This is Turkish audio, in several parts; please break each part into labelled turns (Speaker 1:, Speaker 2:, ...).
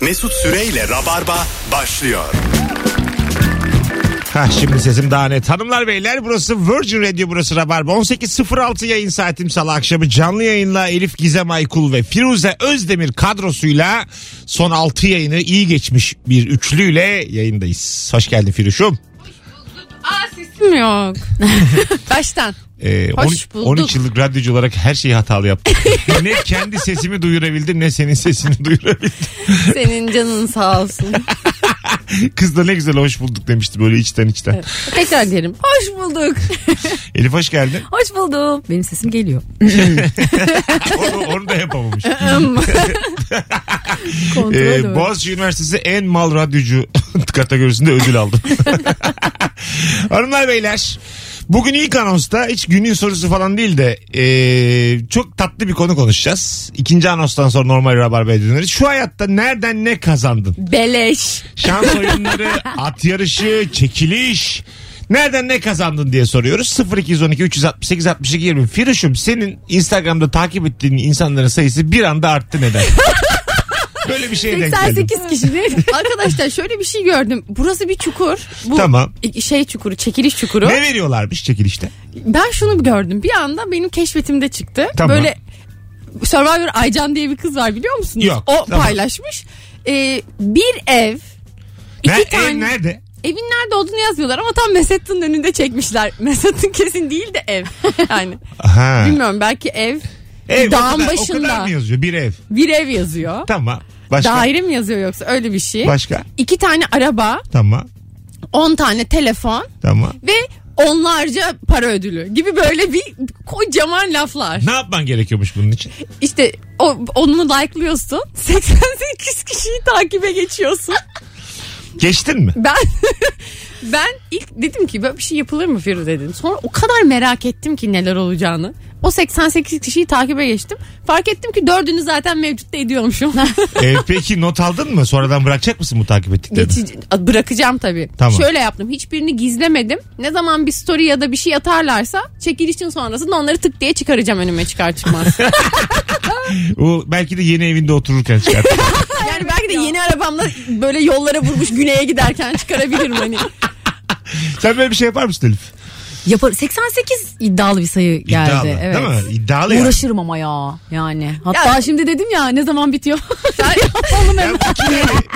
Speaker 1: Mesut Süreyle Rabarba başlıyor.
Speaker 2: Ha şimdi sesim daha net. Hanımlar beyler burası Virgin Radio burası Rabarba. 18.06 yayın saatim salı akşamı canlı yayınla Elif Gizem Aykul ve Firuze Özdemir kadrosuyla son 6 yayını iyi geçmiş bir üçlüyle yayındayız. Hoş geldin Firuş'um.
Speaker 3: Aa sesim yok. Baştan.
Speaker 2: Ee,
Speaker 3: Hoş
Speaker 2: 13,
Speaker 3: bulduk.
Speaker 2: 13 yıllık radyocu olarak her şeyi hatalı yaptım. ne kendi sesimi duyurabildim ne senin sesini duyurabildim.
Speaker 3: Senin canın sağ olsun.
Speaker 2: Kız da ne güzel hoş bulduk demişti böyle içten içten.
Speaker 3: Tekrar derim. Hoş bulduk.
Speaker 2: Elif hoş geldin.
Speaker 3: Hoş buldum. Benim sesim geliyor.
Speaker 2: Onu, onu da yapamamış.
Speaker 3: Kontrol
Speaker 2: Ee,
Speaker 3: edemem.
Speaker 2: Boğaziçi Üniversitesi en mal radyocu kategorisinde ödül aldım. Hanımlar beyler bugün ilk anonsta hiç günün sorusu falan değil de ee, çok tatlı bir konu konuşacağız. İkinci anonstan sonra normal rabarbaya döneriz. Şu hayatta nereden ne kazandın?
Speaker 3: Beleş.
Speaker 2: Şans oyunları, at yarışı, çekiliş. Nereden ne kazandın diye soruyoruz. 0212 368 62 20. Firuş'um senin Instagram'da takip ettiğin insanların sayısı bir anda arttı neden? Böyle bir şeye denk geldim.
Speaker 4: 88 kişi değil mi?
Speaker 3: Arkadaşlar şöyle bir şey gördüm. Burası bir çukur. Bu
Speaker 2: Tamam.
Speaker 3: şey çukuru, çekiliş çukuru.
Speaker 2: Ne veriyorlarmış çekilişte?
Speaker 3: Ben şunu gördüm. Bir anda benim keşfetimde çıktı.
Speaker 2: Tamam.
Speaker 3: Böyle Survivor Aycan diye bir kız var biliyor musunuz?
Speaker 2: Yok,
Speaker 3: O
Speaker 2: tamam.
Speaker 3: paylaşmış. Ee, bir ev, iki
Speaker 2: Ne, ev
Speaker 3: tane.
Speaker 2: nerede?
Speaker 3: Evin nerede olduğunu yazmıyorlar ama tam Mesettin'in önünde çekmişler. Mesettin kesin değil de ev. Yani
Speaker 2: Aha.
Speaker 3: bilmiyorum belki ev,
Speaker 2: Ev,
Speaker 3: dağın
Speaker 2: o kadar,
Speaker 3: başında.
Speaker 2: O kadar mı yazıyor? Bir ev.
Speaker 3: bir ev yazıyor.
Speaker 2: Tamam. Başka?
Speaker 3: Daire mi yazıyor yoksa öyle bir şey.
Speaker 2: Başka?
Speaker 3: İki tane araba,
Speaker 2: Tamam.
Speaker 3: on tane telefon
Speaker 2: Tamam.
Speaker 3: ve onlarca para ödülü gibi böyle bir kocaman laflar.
Speaker 2: Ne yapman gerekiyormuş bunun için?
Speaker 3: İşte o, onu like'lıyorsun. 88 kişiyi takibe geçiyorsun.
Speaker 2: Geçtin mi?
Speaker 3: Ben ben ilk dedim ki böyle bir şey yapılır mı Firuze dedim. Sonra o kadar merak ettim ki neler olacağını. O 88 kişiyi takibe geçtim. Fark ettim ki dördünü zaten mevcut da ediyormuşum.
Speaker 2: Ee, peki not aldın mı? Sonradan bırakacak mısın bu takip ettiklerini?
Speaker 3: Geçici- bırakacağım tabii.
Speaker 2: Tamam.
Speaker 3: Şöyle yaptım. Hiçbirini gizlemedim. Ne zaman bir story ya da bir şey atarlarsa çekilişin sonrasında onları tık diye çıkaracağım önüme çıkar çıkmaz.
Speaker 2: O belki de yeni evinde otururken çıkart.
Speaker 3: yani belki de yeni arabamla böyle yollara vurmuş güneye giderken çıkarabilirim hani.
Speaker 2: Sen böyle bir şey yapar mısın Elif?
Speaker 4: Yapar 88 iddialı bir sayı geldi.
Speaker 2: İddialı.
Speaker 4: evet.
Speaker 2: Değil mi? İddialı ya.
Speaker 4: Uğraşırım ama ya yani. Hatta
Speaker 3: Ya-
Speaker 4: şimdi dedim ya ne zaman bitiyor? Yapalım
Speaker 2: Ben
Speaker 4: hemen.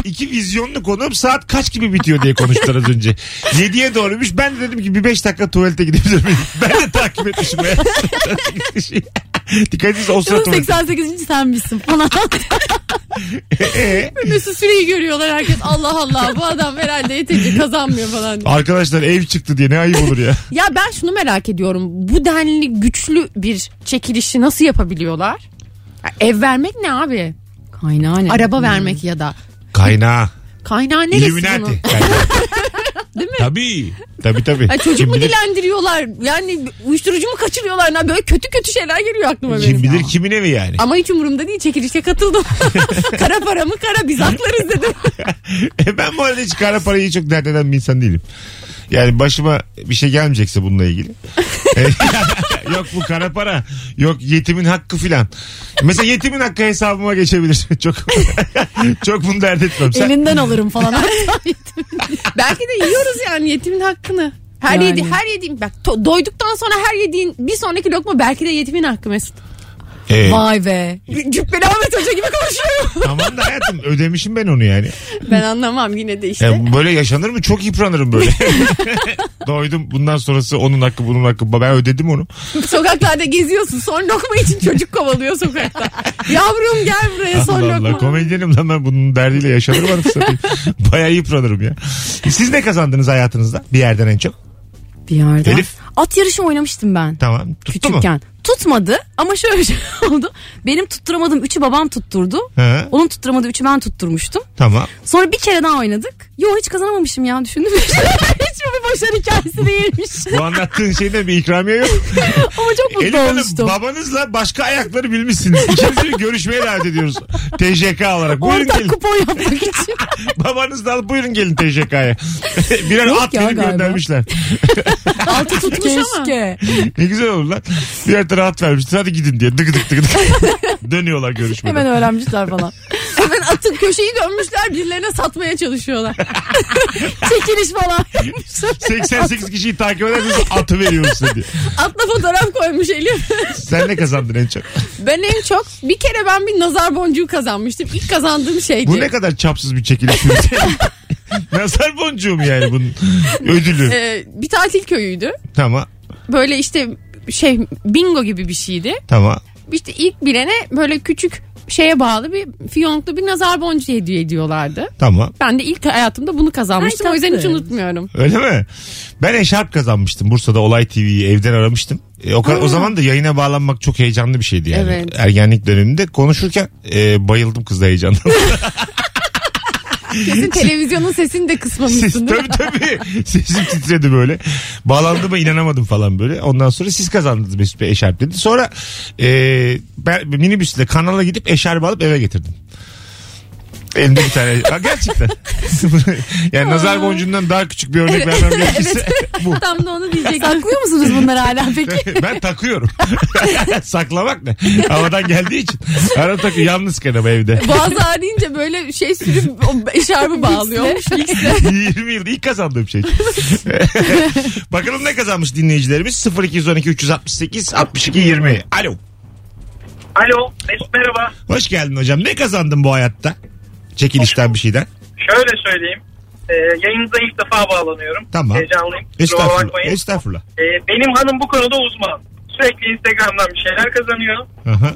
Speaker 2: iki, iki vizyonlu konuğum saat kaç gibi bitiyor diye konuştular az önce. 7'ye doğruymuş. Ben de dedim ki bir 5 dakika tuvalete gidebilir miyim? Ben de takip etmişim. ya. Dikkat ediniz o sıra tuvalete.
Speaker 4: 88. sen misin falan.
Speaker 2: Ee,
Speaker 3: Mesut Süreyi görüyorlar herkes. Allah Allah bu adam herhalde yeterince kazanmıyor falan. diye.
Speaker 2: arkadaşlar ev çıktı diye ne ayıp olur ya.
Speaker 3: Ya ben şunu merak ediyorum. Bu denli güçlü bir çekilişi nasıl yapabiliyorlar? Ya ev vermek ne abi?
Speaker 4: Kaynağına.
Speaker 3: Araba vermek ya da.
Speaker 2: Kaynağı.
Speaker 3: Kaynağı neresi bunun?
Speaker 2: Illuminati. Kaynağı.
Speaker 3: Değil mi?
Speaker 2: Tabii. Tabii tabii.
Speaker 3: Ay çocuk
Speaker 2: Kim
Speaker 3: mu
Speaker 2: bilir-
Speaker 3: dilendiriyorlar? Yani uyuşturucu mu kaçırıyorlar? lan? Böyle kötü kötü şeyler geliyor aklıma
Speaker 2: Kim
Speaker 3: benim.
Speaker 2: bilir kimin evi yani.
Speaker 3: Ama hiç umurumda değil. Çekilişe katıldım. kara para mı kara biz haklarız dedim.
Speaker 2: E ben bu arada hiç kara parayı çok dert eden bir insan değilim. Yani başıma bir şey gelmeyecekse bununla ilgili. E, yok bu kara para. Yok yetimin hakkı filan. Mesela yetimin hakkı hesabıma geçebilir. çok çok bunu dert etmem. Sen,
Speaker 4: Elinden alırım falan.
Speaker 3: Belki de yiyoruz yani yetimin hakkını. Her
Speaker 4: Yani.
Speaker 3: yedi her yediğin bak to- doyduktan sonra her yediğin bir sonraki lokma belki de yetimin hakkı Mesut.
Speaker 2: E,
Speaker 4: Vay be.
Speaker 3: Cübbeli Ahmet Hoca gibi konuşuyorum.
Speaker 2: tamam da hayatım ödemişim ben onu yani.
Speaker 3: ben anlamam yine de işte.
Speaker 2: Yani böyle yaşanır mı? Çok yıpranırım böyle. Doydum bundan sonrası onun hakkı bunun hakkı. Ben ödedim onu.
Speaker 3: Sokaklarda geziyorsun son lokma için çocuk kovalıyor sokakta. Yavrum gel buraya son
Speaker 2: Allah Allah
Speaker 3: lokma.
Speaker 2: komedyenim lan ben bunun derdiyle yaşanır mı anasını satayım? Bayağı yıpranırım ya. Siz ne kazandınız hayatınızda bir yerden en çok?
Speaker 4: Bir yerden.
Speaker 2: Elif.
Speaker 4: At yarışı oynamıştım ben.
Speaker 2: Tamam tuttu
Speaker 4: küçükken.
Speaker 2: mu?
Speaker 4: Tutmadı ama şöyle bir şey oldu. Benim tutturamadığım üçü babam tutturdu.
Speaker 2: He.
Speaker 4: Onun tutturamadığı üçü ben tutturmuştum.
Speaker 2: Tamam.
Speaker 4: Sonra bir kere daha oynadık. Yo hiç kazanamamışım ya düşündüm. hiç bu bir başarı hikayesi değilmiş.
Speaker 2: Bu anlattığın şeyde bir ikramiye yok.
Speaker 4: Ama çok mutlu
Speaker 2: Elif Hanım
Speaker 4: olmuştum.
Speaker 2: babanızla başka ayakları bilmişsiniz. İkinizi bir görüşmeye davet ediyoruz. TJK olarak. Buyurun
Speaker 4: Ortak
Speaker 2: gelin.
Speaker 4: kupon yapmak için.
Speaker 2: Babanızı da alıp buyurun gelin TJK'ya. Birer
Speaker 4: Yok
Speaker 2: at
Speaker 4: ya
Speaker 2: verip
Speaker 4: galiba.
Speaker 2: göndermişler.
Speaker 4: Altı tutmuş
Speaker 3: Keşke.
Speaker 4: ama.
Speaker 2: Ne güzel olur lan. Birer tane at vermişler. Hadi gidin diye. Dık dık dık dık. Dönüyorlar görüşmeden.
Speaker 4: Hemen öğrenmişler falan.
Speaker 3: Hemen atıp köşeyi dönmüşler birilerine satmaya çalışıyorlar.
Speaker 4: Çekiliş falan.
Speaker 2: 88 kişiyi takip ederseniz atı veriyorum size diye.
Speaker 3: Atla fotoğraf koymuş Elif.
Speaker 2: Sen ne kazandın en çok?
Speaker 3: Ben en çok bir kere ben bir nazar boncuğu kazanmıştım. İlk kazandığım şeydi.
Speaker 2: Bu ne kadar çapsız bir çekiliş. Nazar boncuğum yani bunun ödülü.
Speaker 3: Ee, bir tatil köyüydü.
Speaker 2: tamam
Speaker 3: Böyle işte şey bingo gibi bir şeydi.
Speaker 2: tamam.
Speaker 3: İşte ilk bilene böyle küçük şeye bağlı bir fiyonklu bir nazar boncuğu hediye ediyorlardı.
Speaker 2: Tamam.
Speaker 3: Ben de ilk hayatımda bunu kazanmıştım.
Speaker 4: Ay,
Speaker 3: o yüzden hiç
Speaker 4: tatlı.
Speaker 3: unutmuyorum.
Speaker 2: Öyle mi? Ben eşarp kazanmıştım. Bursa'da Olay TV'yi evden aramıştım. E, o, kadar, o zaman da yayına bağlanmak çok heyecanlı bir şeydi yani.
Speaker 3: Evet.
Speaker 2: Ergenlik döneminde konuşurken e, bayıldım kızla heyecandan.
Speaker 3: Kesin televizyonun sesini de
Speaker 2: Ses,
Speaker 3: kısmamışsın değil mi?
Speaker 2: tabii tabii. Sesim titredi böyle. Bağlandığıma inanamadım falan böyle. Ondan sonra siz kazandınız Mesut Bey eşarp dedi. Sonra e, ben minibüsle kanala gidip eşarp alıp eve getirdim. Elimde bir tane. Ha, gerçekten. yani nazar boncuğundan daha küçük bir örnek vermem gerekirse bu.
Speaker 3: Tam da onu diyecektim.
Speaker 4: Saklıyor musunuz bunları hala peki?
Speaker 2: ben takıyorum. Saklamak ne? Havadan geldiği için. Ara takı yalnız kenara evde.
Speaker 3: Boğaz ağrıyınca böyle şey sürüp o eşarbı bağlıyormuş.
Speaker 2: 20 yılda ilk kazandığım şey. Bakalım ne kazanmış dinleyicilerimiz? 0212 368 62 20. Alo.
Speaker 5: Alo Mesut merhaba.
Speaker 2: Hoş geldin hocam. Ne kazandın bu hayatta? Çekilişten bir şeyden.
Speaker 5: Şöyle söyleyeyim. Ee, yayınıza ilk defa bağlanıyorum.
Speaker 2: Tamam.
Speaker 5: Heyecanlıyım. Kusura
Speaker 2: Estağfurullah.
Speaker 5: bakmayın.
Speaker 2: Estağfurullah.
Speaker 5: Ee, benim hanım bu konuda uzman. Sürekli Instagram'dan bir şeyler kazanıyor.
Speaker 2: Aha.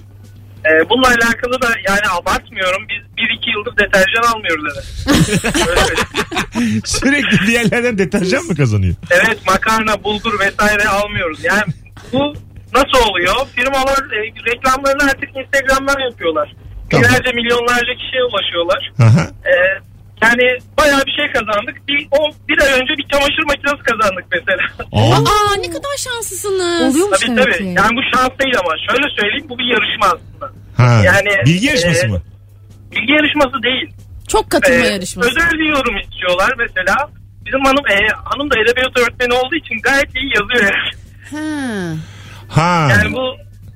Speaker 5: Ee, bununla alakalı da yani abartmıyorum. Biz 1-2 yıldır deterjan almıyoruz eve. Öyle söyleyeyim.
Speaker 2: Sürekli diğerlerden deterjan mı kazanıyor?
Speaker 5: evet makarna, bulgur vesaire almıyoruz. Yani bu nasıl oluyor? Firmalar e, reklamlarını artık Instagram'dan yapıyorlar.
Speaker 2: Tamam.
Speaker 5: Binlerce milyonlarca kişiye ulaşıyorlar.
Speaker 2: Aha.
Speaker 5: Ee, yani bayağı bir şey kazandık. Bir, o, bir ay önce bir çamaşır makinesi kazandık mesela.
Speaker 2: Aa,
Speaker 3: Aa ne kadar şanslısınız.
Speaker 4: Oluyor mu
Speaker 5: tabii
Speaker 4: şöyle
Speaker 5: tabii.
Speaker 4: ki?
Speaker 5: Yani bu şans değil ama şöyle söyleyeyim bu bir yarışma aslında.
Speaker 2: ha.
Speaker 5: yani,
Speaker 2: Bilgi yarışması
Speaker 5: e,
Speaker 2: mı?
Speaker 5: Bilgi yarışması değil.
Speaker 3: Çok katılma
Speaker 5: Ee,
Speaker 3: yarışması.
Speaker 5: Özel bir yorum istiyorlar mesela. Bizim hanım, e, hanım da edebiyat öğretmeni olduğu için gayet iyi yazıyor. yani.
Speaker 3: Ha.
Speaker 2: Ha.
Speaker 5: Yani bu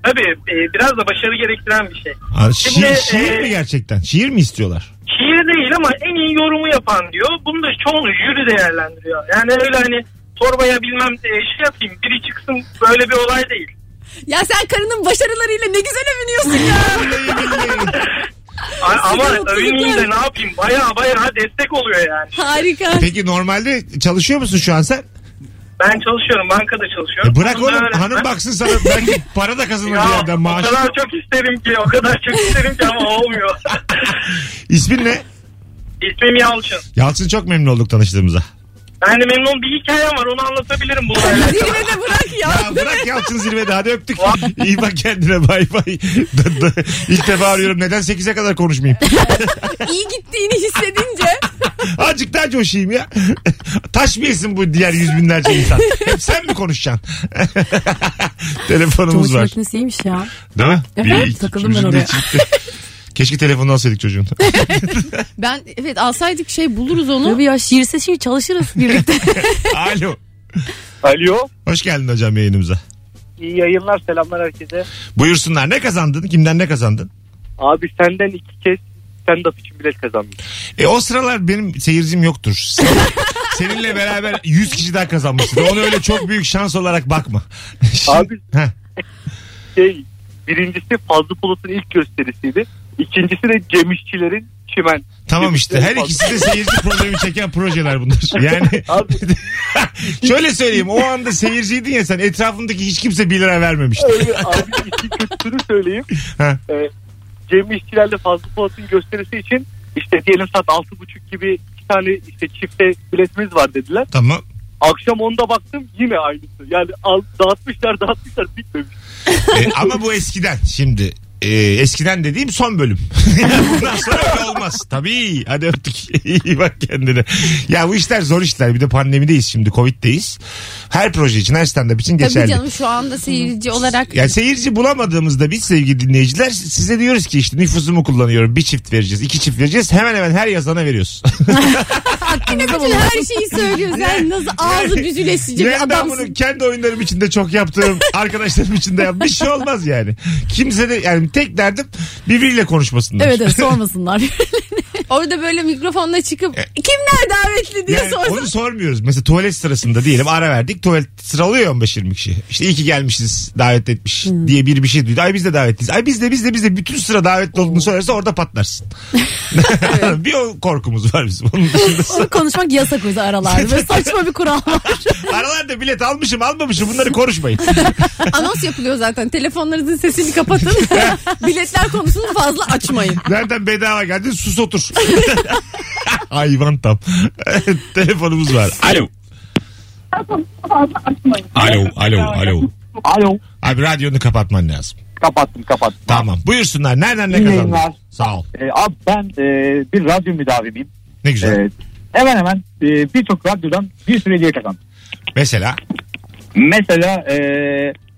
Speaker 5: tabii e, biraz da başarı gerektiren bir şey.
Speaker 2: Aa, şi-
Speaker 5: Şimdi,
Speaker 2: şiir
Speaker 5: e,
Speaker 2: mi gerçekten? Şiir mi istiyorlar?
Speaker 5: Şiir değil ama en iyi yorumu yapan diyor. Bunu da çoğunu jüri değerlendiriyor. Yani öyle hani torbaya bilmem e, şey yapayım biri çıksın böyle bir olay değil.
Speaker 3: Ya sen karının başarılarıyla ne güzel övünüyorsun ya.
Speaker 2: Vallahi billahi.
Speaker 5: A- ama
Speaker 3: Sigara
Speaker 5: övüneyim de
Speaker 3: otururken-
Speaker 5: ne yapayım baya baya destek oluyor yani.
Speaker 3: Harika.
Speaker 2: Peki normalde çalışıyor musun şu an sen?
Speaker 5: Ben çalışıyorum bankada çalışıyorum.
Speaker 2: E bırak
Speaker 5: Hanım da
Speaker 2: oğlum
Speaker 5: öğretmen.
Speaker 2: hanım baksın sana belki para da kazanır bir
Speaker 5: Ya,
Speaker 2: yerden
Speaker 5: o
Speaker 2: maaş.
Speaker 5: kadar çok isterim ki o kadar çok isterim ki ama olmuyor.
Speaker 2: İsmin ne?
Speaker 5: İsmim Yalçın.
Speaker 2: Yalçın çok memnun olduk tanıştığımıza.
Speaker 5: Ben de memnun bir hikayem var onu anlatabilirim bununla alakalı.
Speaker 3: Zirvede de bırak ya.
Speaker 2: Ya bırak Yalçın zirvede hadi öptük. İyi bak kendine bay bay. D- d- İlk defa arıyorum neden 8'e kadar konuşmayayım.
Speaker 3: İyi gittiğini hissedince
Speaker 2: Azıcık daha coşayım ya. Taş mı yesin bu diğer yüz binlerce insan? Hep sen mi konuşacaksın? Telefonumuz
Speaker 4: Çamaşır
Speaker 2: var.
Speaker 4: makinesi iyiymiş ya.
Speaker 2: Değil mi?
Speaker 4: Evet, takıldım ben
Speaker 2: üçümüzün de
Speaker 4: oraya.
Speaker 2: çıktı. Keşke telefonu alsaydık çocuğun.
Speaker 3: ben evet alsaydık şey buluruz onu.
Speaker 4: Tabii ya şiirse şiir çalışırız birlikte.
Speaker 2: Alo.
Speaker 6: Alo.
Speaker 2: Hoş geldin hocam yayınımıza.
Speaker 6: İyi yayınlar selamlar herkese.
Speaker 2: Buyursunlar ne kazandın? Kimden ne kazandın?
Speaker 6: Abi senden iki kez stand-up için bilet kazandım.
Speaker 2: E o sıralar benim seyircim yoktur. Sen- seninle beraber 100 kişi daha kazanmışsın. Onu öyle çok büyük şans olarak bakma. Şimdi-
Speaker 6: Abi-
Speaker 2: Heh.
Speaker 6: Şey birincisi Fazlı Polat'ın ilk gösterisiydi. İkincisi de Cem İşçilerin Çimen.
Speaker 2: Tamam işte her
Speaker 6: Fazlı-
Speaker 2: ikisi de seyirci problemi çeken projeler bunlar. Yani
Speaker 6: Abi
Speaker 2: şöyle söyleyeyim o anda seyirciydin ya sen etrafındaki hiç kimse 1 lira vermemişti.
Speaker 6: öyle abi iki kötüsünü söyleyeyim.
Speaker 2: Ha.
Speaker 6: Ee, Cem İşçilerle Fazlı Polat'ın gösterisi için işte diyelim saat altı buçuk gibi iki tane işte çifte biletimiz var dediler.
Speaker 2: Tamam.
Speaker 6: Akşam onda baktım yine aynısı. Yani al, dağıtmışlar dağıtmışlar bitmemiş.
Speaker 2: E, ama bu eskiden şimdi. E, eskiden dediğim son bölüm. Bundan sonra öyle olmaz. Tabii. Hadi öptük. İyi bak kendine. Ya bu işler zor işler. Bir de pandemideyiz şimdi. Covid'deyiz. Her proje için, her stand-up için
Speaker 3: Tabii
Speaker 2: geçerli.
Speaker 3: canım şu anda seyirci olarak
Speaker 2: Yani seyirci bulamadığımızda biz sevgili dinleyiciler size diyoruz ki işte nüfusumu kullanıyorum. Bir çift vereceğiz, iki çift vereceğiz. Hemen hemen her yazana veriyoruz.
Speaker 3: hakkınızda bulunan her şeyi söylüyoruz. Yani nasıl ağzı büzüleşecek
Speaker 2: Yani ben
Speaker 3: adamsın.
Speaker 2: bunu kendi oyunlarım içinde çok yaptığım, arkadaşlarım içinde yaptım. Bir şey olmaz yani. Kimse de yani tek derdim birbiriyle konuşmasınlar.
Speaker 4: Evet evet sormasınlar.
Speaker 3: Orada böyle mikrofonla çıkıp kimler davetli diye
Speaker 2: E- Yani
Speaker 3: sorsun.
Speaker 2: onu sormuyoruz. Mesela tuvalet sırasında diyelim ara verdik. Tuvalet sıralıyor 15-20 kişi. İşte iyi ki gelmişiz davet etmiş diye bir bir şey duydu. Ay biz de davetliyiz. Ay biz de biz de biz de bütün sıra davetli olduğunu söylerse orada patlarsın. bir o korkumuz var bizim. Onun dışında
Speaker 4: Onu konuşmak yasak o yüzden aralarda. Böyle saçma bir kural var.
Speaker 2: aralarda bilet almışım almamışım bunları konuşmayın.
Speaker 3: Anons yapılıyor zaten. Telefonlarınızın sesini kapatın. Biletler konusunu fazla açmayın.
Speaker 2: Nereden bedava geldi sus otur. Hayvan tam. Telefonumuz var. Alo. Alo, alo, alo.
Speaker 6: Alo.
Speaker 2: Abi radyonu kapatman lazım.
Speaker 6: Kapattım kapattım.
Speaker 2: Tamam. Buyursunlar. Nereden ne
Speaker 6: İyi
Speaker 2: kazandın?
Speaker 6: yayınlar.
Speaker 2: Sağ ol.
Speaker 6: Ee, abi ben e, bir radyo müdavimiyim.
Speaker 2: Ne güzel.
Speaker 6: Ee, hemen hemen e, birçok radyodan bir sürü hediye kazandım.
Speaker 2: Mesela
Speaker 6: Mesela e,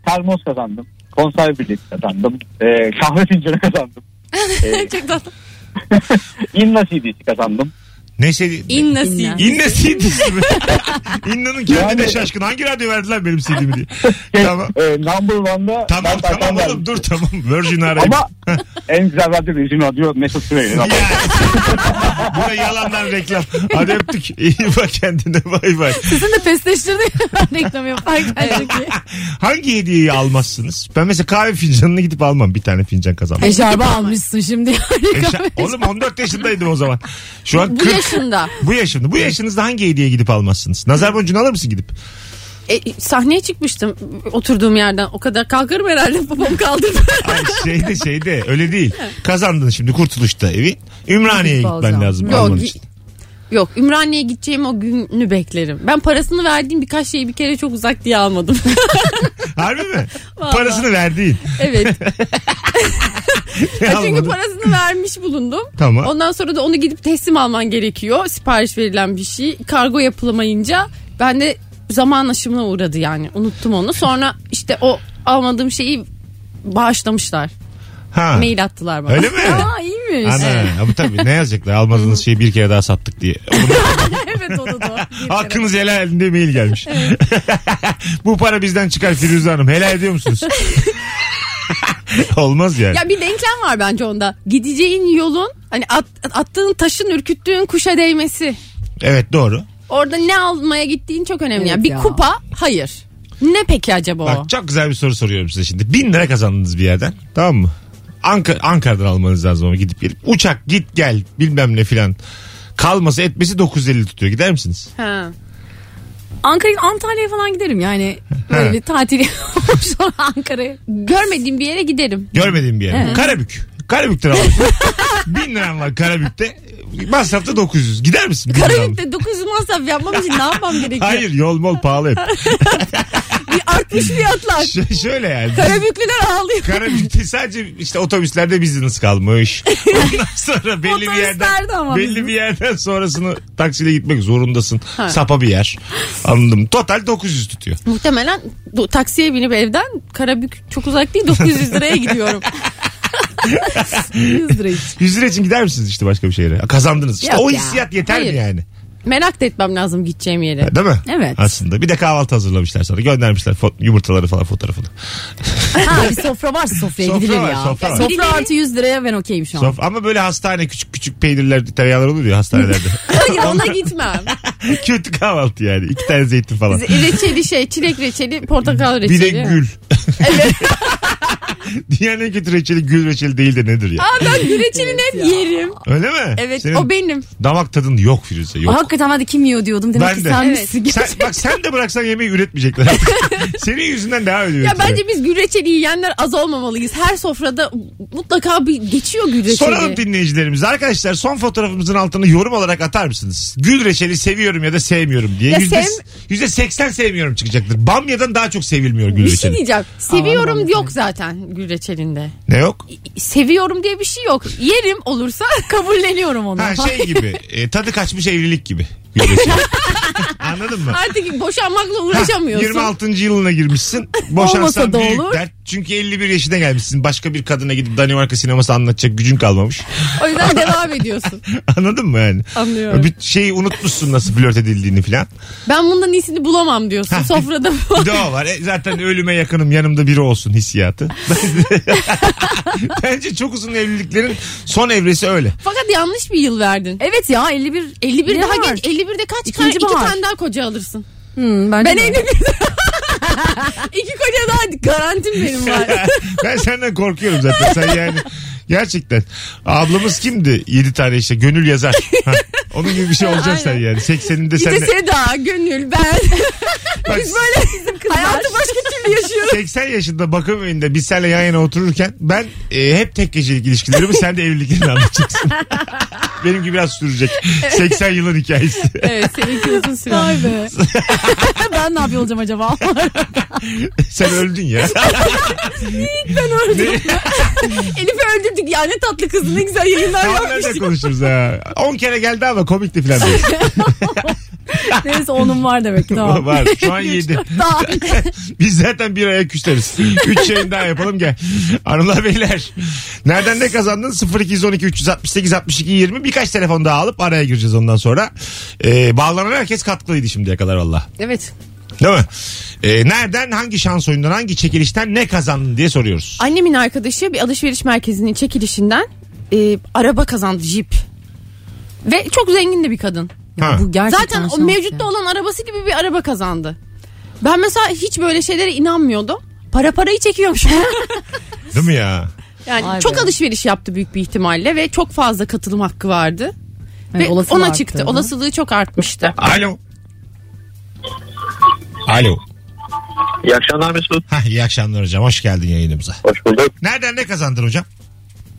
Speaker 6: termos kazandım. Konserve bileti kazandım. E, kahve fincanı kazandım.
Speaker 3: Çok tatlı.
Speaker 6: İnna CD'si kazandım.
Speaker 2: ne şey...
Speaker 3: İnna sin.
Speaker 2: İnne CD'si mi? İnna'nın kendi de
Speaker 6: Yani-
Speaker 2: şaşkın. Hangi radyo verdiler benim CD'mi diye.
Speaker 6: Şey,
Speaker 2: tamam.
Speaker 6: e, number one'da
Speaker 2: Tamam
Speaker 6: ben Tarkan
Speaker 2: tamam
Speaker 6: verdim.
Speaker 2: oğlum dur tamam. Virgin arayayım.
Speaker 6: Ama en güzel radyo Virgin Radyo Mesut Süreyya.
Speaker 2: Ya. Bu da yalandan reklam. Hadi öptük. İyi bak kendine bay bay.
Speaker 4: Sizin de pesleştirdi. ben reklam yaparken.
Speaker 2: Hangi hediyeyi almazsınız? Ben mesela kahve fincanını gidip almam. Bir tane fincan kazanmam.
Speaker 4: Eşarba almışsın şimdi.
Speaker 2: E, şa- oğlum 14 yaşındaydım o zaman. Şu an
Speaker 3: Bu
Speaker 2: 40.
Speaker 3: yaşında.
Speaker 2: Bu yaşında. Bu yaşınızda hangi hediye gidip almazsınız? Nazar boncuğunu alır mısın gidip?
Speaker 3: E, sahneye çıkmıştım oturduğum yerden. O kadar kalkarım herhalde babam kaldırdı.
Speaker 2: Ay şeyde şeyde öyle değil. Kazandın şimdi kurtuluşta evi. Ümraniye'ye
Speaker 4: Futbol
Speaker 2: gitmen
Speaker 4: zaman.
Speaker 2: lazım.
Speaker 3: Yok,
Speaker 2: alman
Speaker 3: gi-
Speaker 2: için.
Speaker 3: Yok Ümraniye'ye gideceğim o günü beklerim. Ben parasını verdiğim birkaç şeyi bir kere çok uzak diye almadım.
Speaker 2: Harbi mi? Parasını verdiğin.
Speaker 3: evet. E, Çünkü
Speaker 2: Almadın.
Speaker 3: parasını vermiş bulundum.
Speaker 2: Tamam.
Speaker 3: Ondan sonra da onu gidip teslim alman gerekiyor. Sipariş verilen bir şey. Kargo yapılamayınca ben de zaman aşımına uğradı yani. Unuttum onu. Sonra işte o almadığım şeyi bağışlamışlar.
Speaker 2: Ha.
Speaker 3: Mail attılar bana.
Speaker 2: Öyle mi?
Speaker 4: Aa iyiymiş.
Speaker 2: Ana, ama tabii ne yazacaklar almadığınız şeyi bir kere daha sattık diye.
Speaker 4: evet o da doğru. Bir kere.
Speaker 2: Hakkınız helal elinde mail gelmiş. Bu para bizden çıkar Firuze Hanım. Helal ediyor musunuz? Olmaz yani.
Speaker 3: Ya bir denklem var bence onda. Gideceğin yolun hani at- attığın taşın ürküttüğün kuşa değmesi.
Speaker 2: Evet doğru.
Speaker 3: Orada ne almaya gittiğin çok önemli.
Speaker 4: Evet
Speaker 3: yani bir
Speaker 4: ya.
Speaker 3: kupa hayır. Ne peki acaba o?
Speaker 2: Bak çok güzel bir soru soruyorum size şimdi. Bin lira kazandınız bir yerden. Tamam mı? Anka- Ankara'dan almanız lazım ama gidip gelip. Uçak git gel bilmem ne filan. Kalması etmesi 950 tutuyor. Gider misiniz?
Speaker 3: Ha.
Speaker 4: Ankara'ya Antalya'ya falan giderim yani. Böyle bir tatil sonra Ankara'ya.
Speaker 3: Görmediğim bir yere giderim.
Speaker 2: Görmediğim bir yer. Karabük. Karabük'ten aldım. bin liram var Karabük'te. Masrafta 900. Gider misin? Bin liram.
Speaker 3: Karabük'te 900 masraf yapmam için ne yapmam gerekiyor?
Speaker 2: Hayır yol mol pahalı hep.
Speaker 3: Bir artmış fiyatlar.
Speaker 2: Ş- şöyle yani.
Speaker 3: Karabüklüler ağlıyor.
Speaker 2: Karabük'te sadece işte otobüslerde business kalmış. Ondan sonra belli bir yerden
Speaker 4: Otobüslerde ama
Speaker 2: belli
Speaker 4: business.
Speaker 2: bir yerden sonrasını taksiyle gitmek zorundasın. Sapa bir yer. Anladım. Total 900 tutuyor.
Speaker 3: Muhtemelen bu taksiye binip evden Karabük çok uzak değil 900 liraya gidiyorum.
Speaker 4: 100 lira için.
Speaker 2: 100 lira için gider misiniz işte başka bir şehre? Kazandınız. İşte
Speaker 4: Yok
Speaker 2: o
Speaker 4: ya.
Speaker 2: hissiyat yeter
Speaker 3: Hayır.
Speaker 2: mi yani?
Speaker 3: Merak da etmem lazım gideceğim yere.
Speaker 2: Değil mi?
Speaker 4: Evet.
Speaker 2: Aslında. Bir de kahvaltı hazırlamışlar sana. Göndermişler fo- yumurtaları falan fotoğrafını.
Speaker 4: Ha bir sofra var sofraya
Speaker 2: Sofra
Speaker 4: gidilir
Speaker 2: var,
Speaker 4: ya.
Speaker 2: sofra
Speaker 4: Sofra,
Speaker 2: var.
Speaker 4: artı 100 liraya ben okeyim şu an.
Speaker 2: Sof- ama böyle hastane küçük küçük peynirler, tereyağlar olur ya hastanelerde.
Speaker 3: Hayır ona gitmem.
Speaker 2: Kötü kahvaltı yani. İki tane zeytin falan.
Speaker 3: Reçeli şey çilek reçeli portakal
Speaker 2: Bir
Speaker 3: reçeli.
Speaker 2: de gül. Dünyanın en kötü reçeli gül reçeli değil de nedir ya?
Speaker 3: Aa, ben bir reçelini hep yerim.
Speaker 2: Öyle mi?
Speaker 3: Evet
Speaker 2: Senin
Speaker 3: o benim.
Speaker 2: damak tadın yok Firuze yok.
Speaker 4: Hakikaten hadi kim yiyor diyordum. Demek
Speaker 2: Ben
Speaker 4: ki
Speaker 2: de.
Speaker 4: sen
Speaker 3: Evet.
Speaker 4: misin?
Speaker 2: Sen, bak sen de bıraksan yemeği üretmeyecekler. artık. Senin yüzünden devam ediyor.
Speaker 3: Ya
Speaker 2: üretime.
Speaker 3: bence biz gül reçeli yiyenler az olmamalıyız. Her sofrada mutlaka bir geçiyor gül reçeli.
Speaker 2: Soralım dinleyicilerimize. Arkadaşlar son fotoğrafımızın altına yorum olarak atar mısınız? Gül reçeli seviyorum ya da sevmiyorum diye.
Speaker 3: Ya
Speaker 2: Yüzde,
Speaker 3: sev-
Speaker 2: yüzde seksen sevmiyorum çıkacaktır. Bamya'dan daha çok sevilmiyor gül
Speaker 3: Bir şey
Speaker 2: reçeli.
Speaker 3: diyeceğim. Seviyorum
Speaker 4: Aman
Speaker 3: yok zaten gül reçelinde.
Speaker 2: Ne yok?
Speaker 3: Seviyorum diye bir şey yok. Yerim olursa
Speaker 4: Kabulleniyorum onu.
Speaker 2: Ha şey gibi. e, tadı kaçmış evlilik gibi. Gül reçeli. Anladın mı?
Speaker 3: artık boşanmakla
Speaker 2: Ha,
Speaker 3: uğraşamıyorsun.
Speaker 2: 26. yılına girmişsin. Boşansan
Speaker 4: Olmasa da
Speaker 2: büyük
Speaker 4: olur.
Speaker 2: dert. Çünkü 51 yaşına gelmişsin. Başka bir kadına gidip Danimarka sineması anlatacak gücün kalmamış.
Speaker 3: O yüzden devam ediyorsun.
Speaker 2: Anladın mı yani?
Speaker 3: Anlıyorum.
Speaker 2: Bir şeyi unutmuşsun nasıl flört edildiğini filan.
Speaker 3: Ben bundan iyisini bulamam diyorsun. Sofrada bu.
Speaker 2: Bir de o var. E, zaten ölüme yakınım yanımda biri olsun hissiyatı. Bence çok uzun evliliklerin son evresi öyle.
Speaker 3: Fakat yanlış bir yıl verdin.
Speaker 4: Evet ya 51.
Speaker 3: 51
Speaker 4: Ne
Speaker 3: daha
Speaker 4: var?
Speaker 3: genç. 51'de kaç
Speaker 4: İkinci
Speaker 3: tane? İki
Speaker 4: bahar.
Speaker 3: tane daha koca alırsın.
Speaker 4: Hmm, bence
Speaker 3: Ben
Speaker 4: de.
Speaker 3: 51. İki koca daha garantim benim var.
Speaker 2: ben senden korkuyorum zaten. Sen yani gerçekten. Ablamız kimdi? 7 tane işte gönül yazar. Ha, Onun gibi bir şey olacaksın sen yani. 80'inde sen
Speaker 3: İşte Seda, Gönül, ben.
Speaker 2: bak,
Speaker 3: Hayatı başka türlü yaşıyorum.
Speaker 2: 80 yaşında bakım evinde biz seninle yan yana otururken ben e, hep tek gecelik ilişkilerimi sen de evliliklerini anlatacaksın. Benimki biraz sürecek. 80 yılın hikayesi.
Speaker 3: evet seninki uzun süre.
Speaker 4: Vay be. ben ne yapıyor olacağım acaba?
Speaker 2: sen öldün ya.
Speaker 3: Elif'i öldürdük ya ne tatlı kız ne güzel yayınlar
Speaker 2: Hala da
Speaker 3: yapmıştık.
Speaker 2: konuşuruz ha. 10 kere geldi ama komikti falan. diyor.
Speaker 4: Neyse onun var demek ki. Tamam.
Speaker 2: Var. Şu an 7.
Speaker 4: Daha
Speaker 2: Biz zaten bir aya küsteriz. 3 yayın daha yapalım gel. Hanımlar beyler. Nereden ne kazandın? 0212 368 62 20. Birkaç telefon daha alıp araya gireceğiz ondan sonra. Ee, bağlanan herkes katkılıydı şimdiye kadar valla.
Speaker 3: Evet.
Speaker 2: Değil mi? Ee, nereden, hangi şans oyundan, hangi çekilişten ne kazandın diye soruyoruz.
Speaker 3: Annemin arkadaşı bir alışveriş merkezinin çekilişinden e, araba kazandı jip. Ve çok zengin de bir kadın.
Speaker 2: Ha.
Speaker 4: Bu gerçekten şey
Speaker 3: Zaten o
Speaker 4: şans
Speaker 3: mevcutta
Speaker 4: ya.
Speaker 3: olan arabası gibi bir araba kazandı. Ben mesela hiç böyle şeylere inanmıyordum. Para parayı çekiyormuş.
Speaker 2: Değil mi ya?
Speaker 3: Yani
Speaker 4: Vay
Speaker 3: çok
Speaker 4: be.
Speaker 3: alışveriş yaptı büyük bir ihtimalle ve çok fazla katılım hakkı vardı.
Speaker 4: Evet,
Speaker 3: ve
Speaker 4: olasılığı
Speaker 3: ona
Speaker 4: arttı,
Speaker 3: çıktı.
Speaker 4: ha?
Speaker 3: Olasılığı çok artmıştı.
Speaker 2: Alo. Alo.
Speaker 7: İyi akşamlar Mesut.
Speaker 2: Hah, iyi akşamlar hocam. Hoş geldin yayınımıza.
Speaker 7: Hoş bulduk.
Speaker 2: Nereden ne kazandın hocam?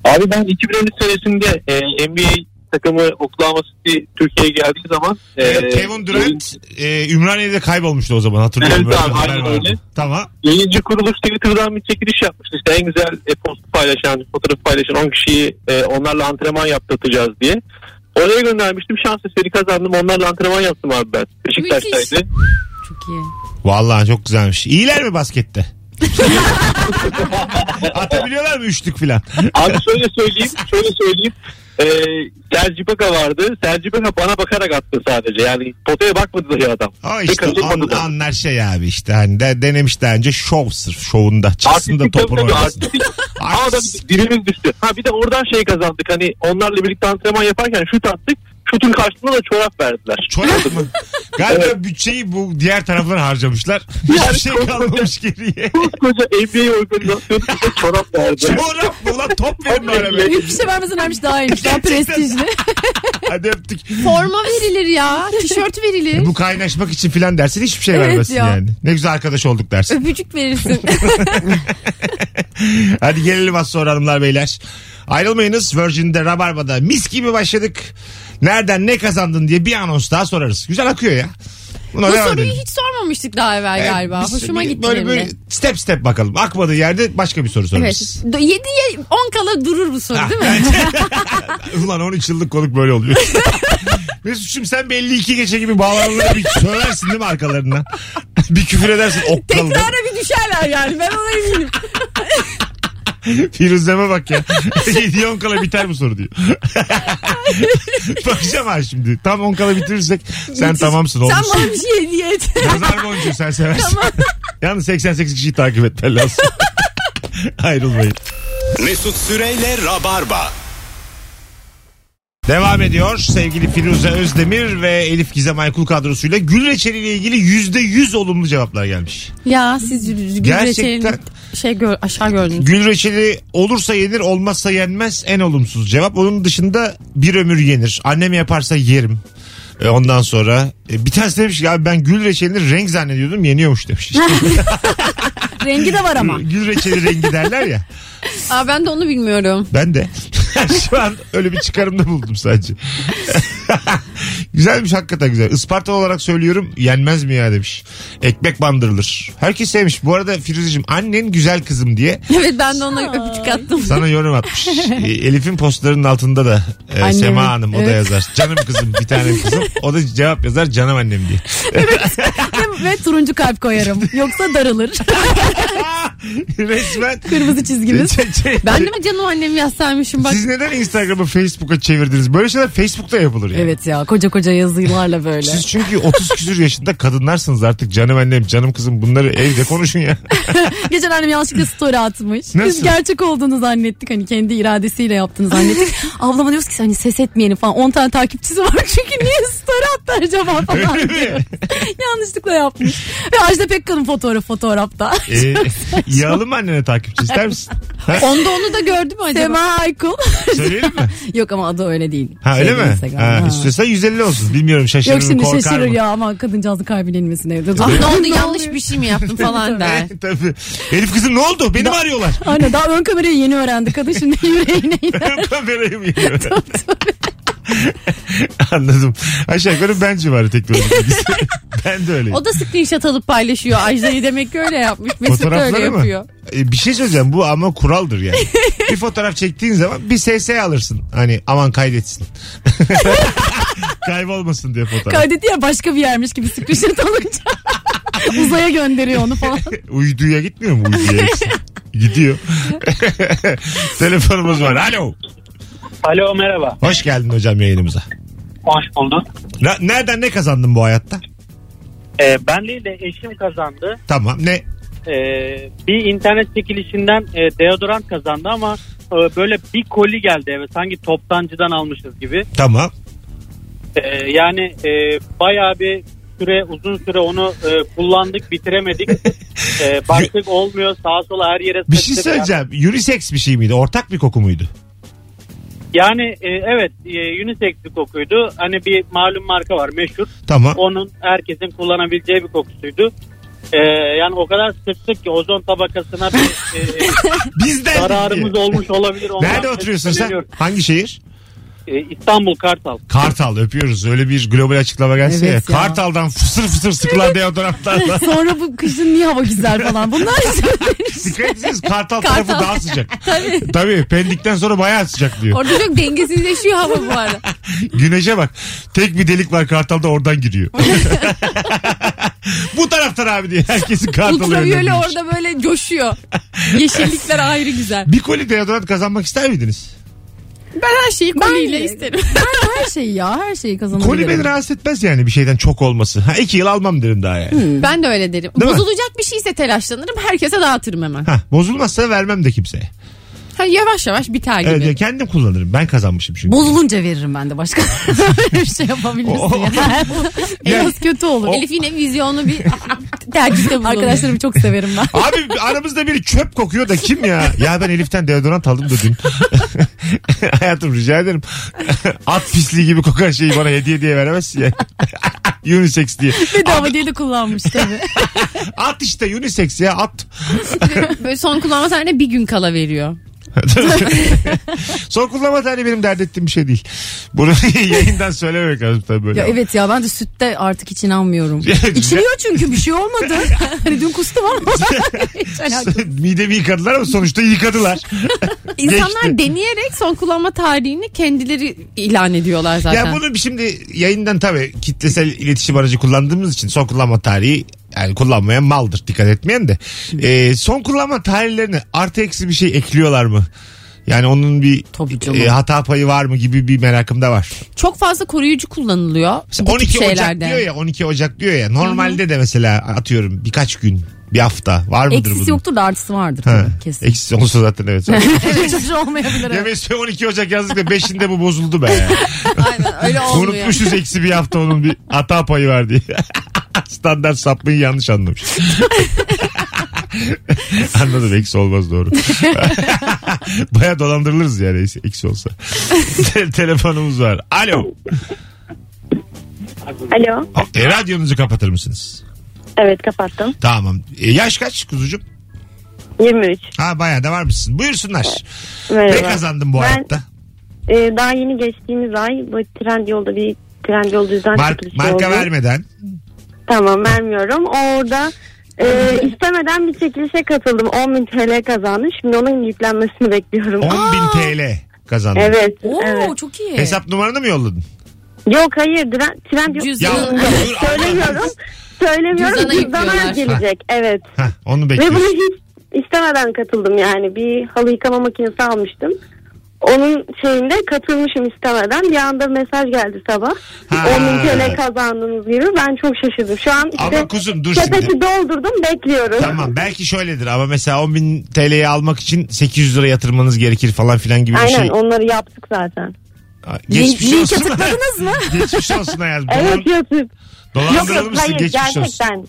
Speaker 7: Abi ben 2013 senesinde e, NBA takımı Oklahoma City Türkiye'ye geldiği zaman e,
Speaker 2: Kevin Durant e, Ümraniye'de kaybolmuştu o zaman hatırlıyorum.
Speaker 7: Evet
Speaker 2: Böyle
Speaker 7: abi,
Speaker 2: bir haber
Speaker 7: aynen
Speaker 2: vardı.
Speaker 7: öyle.
Speaker 2: Tamam.
Speaker 7: yayıncı kuruluş Twitter'dan bir çekiliş yapmıştı. İşte en güzel e, postu paylaşan, fotoğrafı paylaşan 10 kişiyi e, onlarla antrenman yaptırtacağız diye. Oraya göndermiştim. Şans eseri kazandım. Onlarla antrenman yaptım abi ben. Beşiktaş'taydı.
Speaker 4: Çok iyi.
Speaker 2: Vallahi çok güzelmiş. İyiler mi baskette? Atabiliyorlar mı üçlük filan?
Speaker 7: Abi şöyle söyleyeyim, şöyle söyleyeyim. Ee, Sergi Baka vardı. Sergi Baka bana bakarak attı sadece. Yani potaya bakmadı dahi adam.
Speaker 2: Ama
Speaker 7: Bir
Speaker 2: işte
Speaker 7: kaçırmadı
Speaker 2: an,
Speaker 7: da.
Speaker 2: anlar şey abi işte hani de, denemiş daha önce şov sırf şovunda çıksın da
Speaker 7: Artistik
Speaker 2: topun
Speaker 7: tabii,
Speaker 2: ortasında.
Speaker 7: artistik. Aa da
Speaker 2: Artist.
Speaker 7: dilimiz düştü. Ha bir de oradan şey kazandık. Hani onlarla birlikte antrenman yaparken şut attık. Şutun karşılığında da çorap verdiler.
Speaker 2: Çorap mı? Galiba bütçeyi bu diğer taraflara harcamışlar. Hiçbir
Speaker 7: Yani
Speaker 2: şey
Speaker 7: çok-
Speaker 2: kalmamış geriye.
Speaker 7: Koskoca NBA organizasyonu bize çorap verdi.
Speaker 2: Çorap mı lan top verin bana be.
Speaker 4: Büyük bir şey vermesen vermiş daha iyiymiş. Daha
Speaker 2: Gerçekten.
Speaker 4: prestijli.
Speaker 2: Hadi öptük.
Speaker 3: Forma verilir ya. Tişört verilir.
Speaker 2: Bu kaynaşmak için filan dersin hiçbir şey
Speaker 4: Evet
Speaker 2: vermezsin
Speaker 4: ya.
Speaker 2: yani. Ne güzel arkadaş olduk dersin.
Speaker 3: Öpücük verirsin.
Speaker 2: Hadi gelelim az sonra hanımlar beyler. Ayrılmayınız Virgin'de Rabarba'da mis gibi başladık. Nereden ne kazandın diye bir anons daha sorarız. Güzel akıyor ya. Buna
Speaker 3: Bu
Speaker 2: devam
Speaker 3: soruyu
Speaker 2: edelim.
Speaker 3: hiç sormamıştık daha evvel
Speaker 2: Evet,
Speaker 3: galiba.
Speaker 2: biz
Speaker 3: Hoşuma
Speaker 2: bir-
Speaker 3: gitti
Speaker 2: Böyle
Speaker 3: benim de.
Speaker 2: böyle step step bakalım. Akmadığı yerde başka bir soru sorarız.
Speaker 3: Evet. 7'ye 10 kala durur bu soru değil mi?
Speaker 2: Ulan 13 yıllık konuk böyle oluyor. Mesut'cum sen belli iki geçe gibi bağlananlara bir söylersin değil mi arkalarından? bir küfür edersin okkalı.
Speaker 3: Tekrara bir düşerler yani ben ona eminim.
Speaker 2: Firuzeme bak ya. 7-10 kala biter bu soru diyor. Bakacağım ha şimdi. Tam 10 kala bitirirsek sen tamamsın olmuş.
Speaker 3: Sen bana bir şey hediye et.
Speaker 2: Nazar boncuğu sen seversin. Yalnız 88 kişiyi takip etmen lazım. Ayrılmayın.
Speaker 1: Mesut Süreyle Rabarba.
Speaker 2: Devam ediyor sevgili Firuze Özdemir ve Elif Gizem Aykul kadrosuyla gül reçeli ile ilgili %100 olumlu cevaplar gelmiş.
Speaker 3: Ya siz gül
Speaker 2: Gerçekten.
Speaker 3: reçelini şey gör, aşağı gördünüz.
Speaker 2: Gül reçeli olursa yenir olmazsa yenmez en olumsuz cevap. Onun dışında bir ömür yenir. Annem yaparsa yerim. E, Ondan sonra e, bir tanesi demiş ki abi ben gül reçelini renk zannediyordum yeniyormuş demiş.
Speaker 4: Rengi de var ama.
Speaker 2: gül reçeli rengi derler ya.
Speaker 3: Aa, ben de onu bilmiyorum.
Speaker 2: Ben de. Şu an öyle bir çıkarımda buldum sadece. Güzelmiş hakikaten güzel. Isparta olarak söylüyorum yenmez mi ya demiş. Ekmek bandırılır. Herkes sevmiş. Bu arada Firuzeciğim annen güzel kızım diye
Speaker 3: Evet ben de ona öpücük attım.
Speaker 2: sana yorum atmış. E, Elif'in postlarının altında da e,
Speaker 4: Annemin,
Speaker 2: Sema Hanım o da
Speaker 4: evet.
Speaker 2: yazar. Canım kızım bir tane kızım. O da cevap yazar canım annem diye.
Speaker 4: Ve turuncu kalp koyarım. Yoksa darılır.
Speaker 2: Resmen.
Speaker 4: Kırmızı çizgimiz.
Speaker 3: Ben de mi canım annemi yazsaymışım bak.
Speaker 2: Siz neden Instagram'ı Facebook'a çevirdiniz? Böyle şeyler Facebook'ta yapılır yani.
Speaker 4: Evet ya koca koca yazılarla böyle.
Speaker 2: Siz çünkü 30 küsür yaşında kadınlarsınız artık canım annem canım kızım bunları evde konuşun ya.
Speaker 4: Geçen annem yanlışlıkla story atmış.
Speaker 2: Nasıl?
Speaker 4: Biz gerçek olduğunu zannettik. Hani kendi iradesiyle yaptığını zannettik. Ablama diyoruz ki hani ses etmeyelim falan. 10 tane takipçisi var çünkü niye story attı acaba falan.
Speaker 2: Öyle mi?
Speaker 4: Yanlışlıkla yapmış. Ve Ajda Pekkan'ın fotoğrafı fotoğrafta.
Speaker 2: Ee, yağlı mı annene takipçi ister misin? Ha?
Speaker 3: Onda onu da gördüm acaba.
Speaker 4: Sema Aykul.
Speaker 2: Söyleyelim mi?
Speaker 4: Şey, Yok ama adı öyle değil.
Speaker 2: Ha öyle
Speaker 4: Sevgili
Speaker 2: mi?
Speaker 4: Instagram.
Speaker 2: Ha,
Speaker 4: Ha.
Speaker 2: istiyorsan 150 olsun. Bilmiyorum şaşırır
Speaker 4: Yok şimdi
Speaker 2: mı korkar
Speaker 4: şaşırır
Speaker 2: mı?
Speaker 4: ya ama kadıncağızın kaybedilmesin evde.
Speaker 3: Ah,
Speaker 4: Dur.
Speaker 3: ne oldu yanlış bir şey mi yaptım falan der.
Speaker 2: Tabii, Tabii. Elif kızım ne oldu? Beni mi arıyorlar?
Speaker 4: Aynen daha ön kamerayı yeni öğrendi. Kadın şimdi yüreğine iner.
Speaker 2: Benim kamerayı mı yiyor? Anladım. Aşağı yukarı ben civarı teknoloji bilgisi. ben de öyleyim.
Speaker 3: O da screenshot alıp paylaşıyor. Ajda'yı demek ki öyle yapmış. Mesut da öyle
Speaker 2: Fotoğrafları mı?
Speaker 3: yapıyor.
Speaker 2: E, bir şey söyleyeceğim bu ama kuraldır yani. bir fotoğraf çektiğin zaman bir SS alırsın. Hani aman kaydetsin. Kaybolmasın diye fotoğraf.
Speaker 4: Kaydetti ya başka bir yermiş gibi screenshot alınca. Uzaya gönderiyor onu falan.
Speaker 2: Uyduya gitmiyor mu uyduya? hepsi? Gidiyor. Telefonumuz var. Alo.
Speaker 5: Alo merhaba.
Speaker 2: Hoş geldin hocam yayınımıza.
Speaker 5: Hoş bulduk.
Speaker 2: Na- nereden ne kazandın bu hayatta?
Speaker 5: Ee, ben değil de eşim kazandı.
Speaker 2: Tamam ne?
Speaker 5: Ee, bir internet çekilişinden e, deodorant kazandı ama e, böyle bir koli geldi eve sanki toptancıdan almışız gibi.
Speaker 2: Tamam.
Speaker 5: Ee, yani e, bayağı bir süre uzun süre onu e, kullandık bitiremedik. Ee, baktık olmuyor sağa sola her yere
Speaker 2: Bir şey
Speaker 5: sıktık.
Speaker 2: söyleyeceğim. Unisex bir şey miydi? Ortak bir koku muydu?
Speaker 5: Yani e, evet e, unisex bir kokuydu. Hani bir malum marka var meşhur.
Speaker 2: Tamam.
Speaker 5: Onun herkesin kullanabileceği bir kokusuydu. Ee, yani o kadar sıktık ki ozon tabakasına bir e,
Speaker 2: Bizden.
Speaker 5: zararımız olmuş olabilir. Ondan
Speaker 2: Nerede oturuyorsun sen?
Speaker 5: şüpheleniyorum.
Speaker 2: Hangi şehir?
Speaker 5: Ee, İstanbul Kartal.
Speaker 2: Kartal öpüyoruz. Öyle bir global açıklama gelse
Speaker 4: Evet
Speaker 2: ya.
Speaker 4: ya.
Speaker 2: Kartal'dan fısır fısır sıkılan deodorantlarla.
Speaker 4: Sonra bu kışın niye hava güzel falan. Bunlar
Speaker 2: Dikkat etseniz Kartal tarafı
Speaker 3: Kartal.
Speaker 2: daha sıcak. Tabii. Tabii pendikten sonra bayağı sıcak diyor.
Speaker 3: Orada çok dengesizleşiyor hava bu arada.
Speaker 2: Güneşe bak. Tek bir delik var Kartal'da oradan giriyor. Bu taraftan abi diye herkesin Kartal'ı
Speaker 3: Ultraviyole
Speaker 2: yönlendirmiş.
Speaker 3: orada böyle coşuyor. Yeşillikler ayrı güzel.
Speaker 2: Bir koli deodorant kazanmak ister miydiniz?
Speaker 3: Ben her şeyi koliyle
Speaker 4: Ben-
Speaker 3: isterim.
Speaker 4: her şeyi ya her şeyi kazanabilirim.
Speaker 2: Koli beni rahatsız etmez yani bir şeyden çok olması. Ha iki yıl almam derim daha yani.
Speaker 4: Hmm.
Speaker 3: Ben de öyle derim.
Speaker 2: Değil mi?
Speaker 3: Bozulacak bir şeyse telaşlanırım. Herkese dağıtırım hemen.
Speaker 2: Ha, bozulmazsa vermem de kimseye.
Speaker 3: Ha, yavaş yavaş biter gibi.
Speaker 2: Evet, ya kendim kullanırım. Ben kazanmışım çünkü.
Speaker 4: Bozulunca veririm ben de başka. Öyle bir şey yapabilirsin.
Speaker 2: Oh.
Speaker 4: ya. Biraz kötü olur.
Speaker 3: Elif yine vizyonlu bir tercihte bulundu.
Speaker 4: Arkadaşlarımı çok severim ben.
Speaker 2: Abi aramızda biri çöp kokuyor da kim ya? Ya ben Elif'ten deodorant aldım da dün. Hayatım rica ederim. At pisliği gibi kokan şeyi bana hediye diye veremezsin ya. unisex diye.
Speaker 4: Bedava diye de kullanmış tabii.
Speaker 2: At işte unisex ya at.
Speaker 3: böyle son kullanma tarihine bir gün kala veriyor.
Speaker 2: Son kullanma tane benim dert ettiğim bir şey değil. Bunu yayından söylememek lazım tabii böyle.
Speaker 4: ya evet ya ben de sütte artık hiç inanmıyorum. İçiliyor çünkü bir şey olmadı. hani dün kustum ama. hiç alakası yok.
Speaker 2: Midemi yıkadılar ama sonuçta yıkadılar.
Speaker 3: İnsanlar
Speaker 2: Geçti.
Speaker 3: deneyerek son kullanma tarihini kendileri ilan ediyorlar zaten.
Speaker 2: Ya bunu bir şimdi yayından tabii kitlesel iletişim aracı kullandığımız için son kullanma tarihi yani kullanmayan maldır dikkat etmeyen de. Ee, son kullanma tarihlerine artı eksi bir şey ekliyorlar mı? Yani onun bir
Speaker 4: Tabii canım.
Speaker 2: e, hata payı var mı gibi bir merakım da var.
Speaker 3: Çok fazla koruyucu kullanılıyor.
Speaker 2: Mesela
Speaker 3: bu
Speaker 2: 12
Speaker 3: tip
Speaker 2: Ocak
Speaker 3: şeylerde.
Speaker 2: diyor ya 12 Ocak diyor ya normalde de mesela atıyorum birkaç gün bir hafta var mıdır
Speaker 4: Eksisi
Speaker 2: bunun?
Speaker 4: yoktur da artısı vardır
Speaker 2: Ha,
Speaker 4: tabii kesin.
Speaker 2: Eksisi olsa zaten evet.
Speaker 4: Evet hiçbir şey olmayabilir.
Speaker 2: Ya
Speaker 4: evet.
Speaker 2: mesela 12 Ocak yazdık da 5'inde bu bozuldu be.
Speaker 3: Aynen öyle olmuyor.
Speaker 2: Unutmuşuz eksi bir hafta onun bir hata payı var diye. Standart sapmayı yanlış anlamış. Anladım eksi olmaz doğru. Baya dolandırılırız yani eksi- eksi olsa. Te- Telefonumuz var. Alo.
Speaker 8: Alo.
Speaker 2: E, radyonuzu kapatır mısınız?
Speaker 8: Evet kapattım.
Speaker 2: Tamam. E, yaş kaç kuzucuğum?
Speaker 8: 23.
Speaker 2: Ha bayağı da var mısın? Buyursunlar. Ne
Speaker 8: Merhaba.
Speaker 2: kazandın bu
Speaker 8: Ben- e,
Speaker 2: hayatta?
Speaker 8: Ee, daha yeni geçtiğimiz ay bu trend yolda bir Trendyol düzden
Speaker 2: Mark,
Speaker 8: çekilişi oldu.
Speaker 2: marka vermeden.
Speaker 8: Tamam vermiyorum. Orada e, istemeden bir çekilişe katıldım. 10 bin TL kazandım. Şimdi onun yüklenmesini bekliyorum.
Speaker 2: 10 bin TL kazandın.
Speaker 8: Evet.
Speaker 4: Oo
Speaker 8: evet.
Speaker 4: çok iyi.
Speaker 2: Hesap numaranı mı yolladın?
Speaker 8: Yok hayır. Tren, Trendyol
Speaker 2: Ya,
Speaker 3: Cüzdan.
Speaker 2: dur,
Speaker 8: söylemiyorum. Söylemiyorum.
Speaker 3: Cüzdana
Speaker 8: Cüzdana
Speaker 3: yüklüyorlar.
Speaker 8: gelecek. Evet.
Speaker 2: Hah, onu
Speaker 8: Ve bunu
Speaker 2: bekliyoruz.
Speaker 8: hiç istemeden katıldım yani. Bir halı yıkama makinesi almıştım. Onun şeyinde katılmışım istemeden. Bir anda mesaj geldi sabah.
Speaker 2: Ha.
Speaker 8: 10 bin TL kazandınız gibi. Ben çok şaşırdım. Şu an
Speaker 2: Ama
Speaker 8: işte
Speaker 2: kuzum dur şimdi.
Speaker 8: sepeti doldurdum bekliyorum.
Speaker 2: Tamam belki şöyledir ama mesela 10 bin TL'yi almak için 800 lira yatırmanız gerekir falan filan gibi bir
Speaker 8: Aynen
Speaker 2: şey.
Speaker 8: onları yaptık zaten.
Speaker 2: Ha, Geçmiş
Speaker 4: Link-
Speaker 2: olsun.
Speaker 4: linke tıkladınız mı?
Speaker 2: geçmiş olsun Ayaz.
Speaker 8: Evet yatıp.
Speaker 2: Dolan,
Speaker 8: Yok yok
Speaker 2: dolandırılmışsın
Speaker 8: hayır
Speaker 2: geçmiş olsun.
Speaker 8: gerçekten.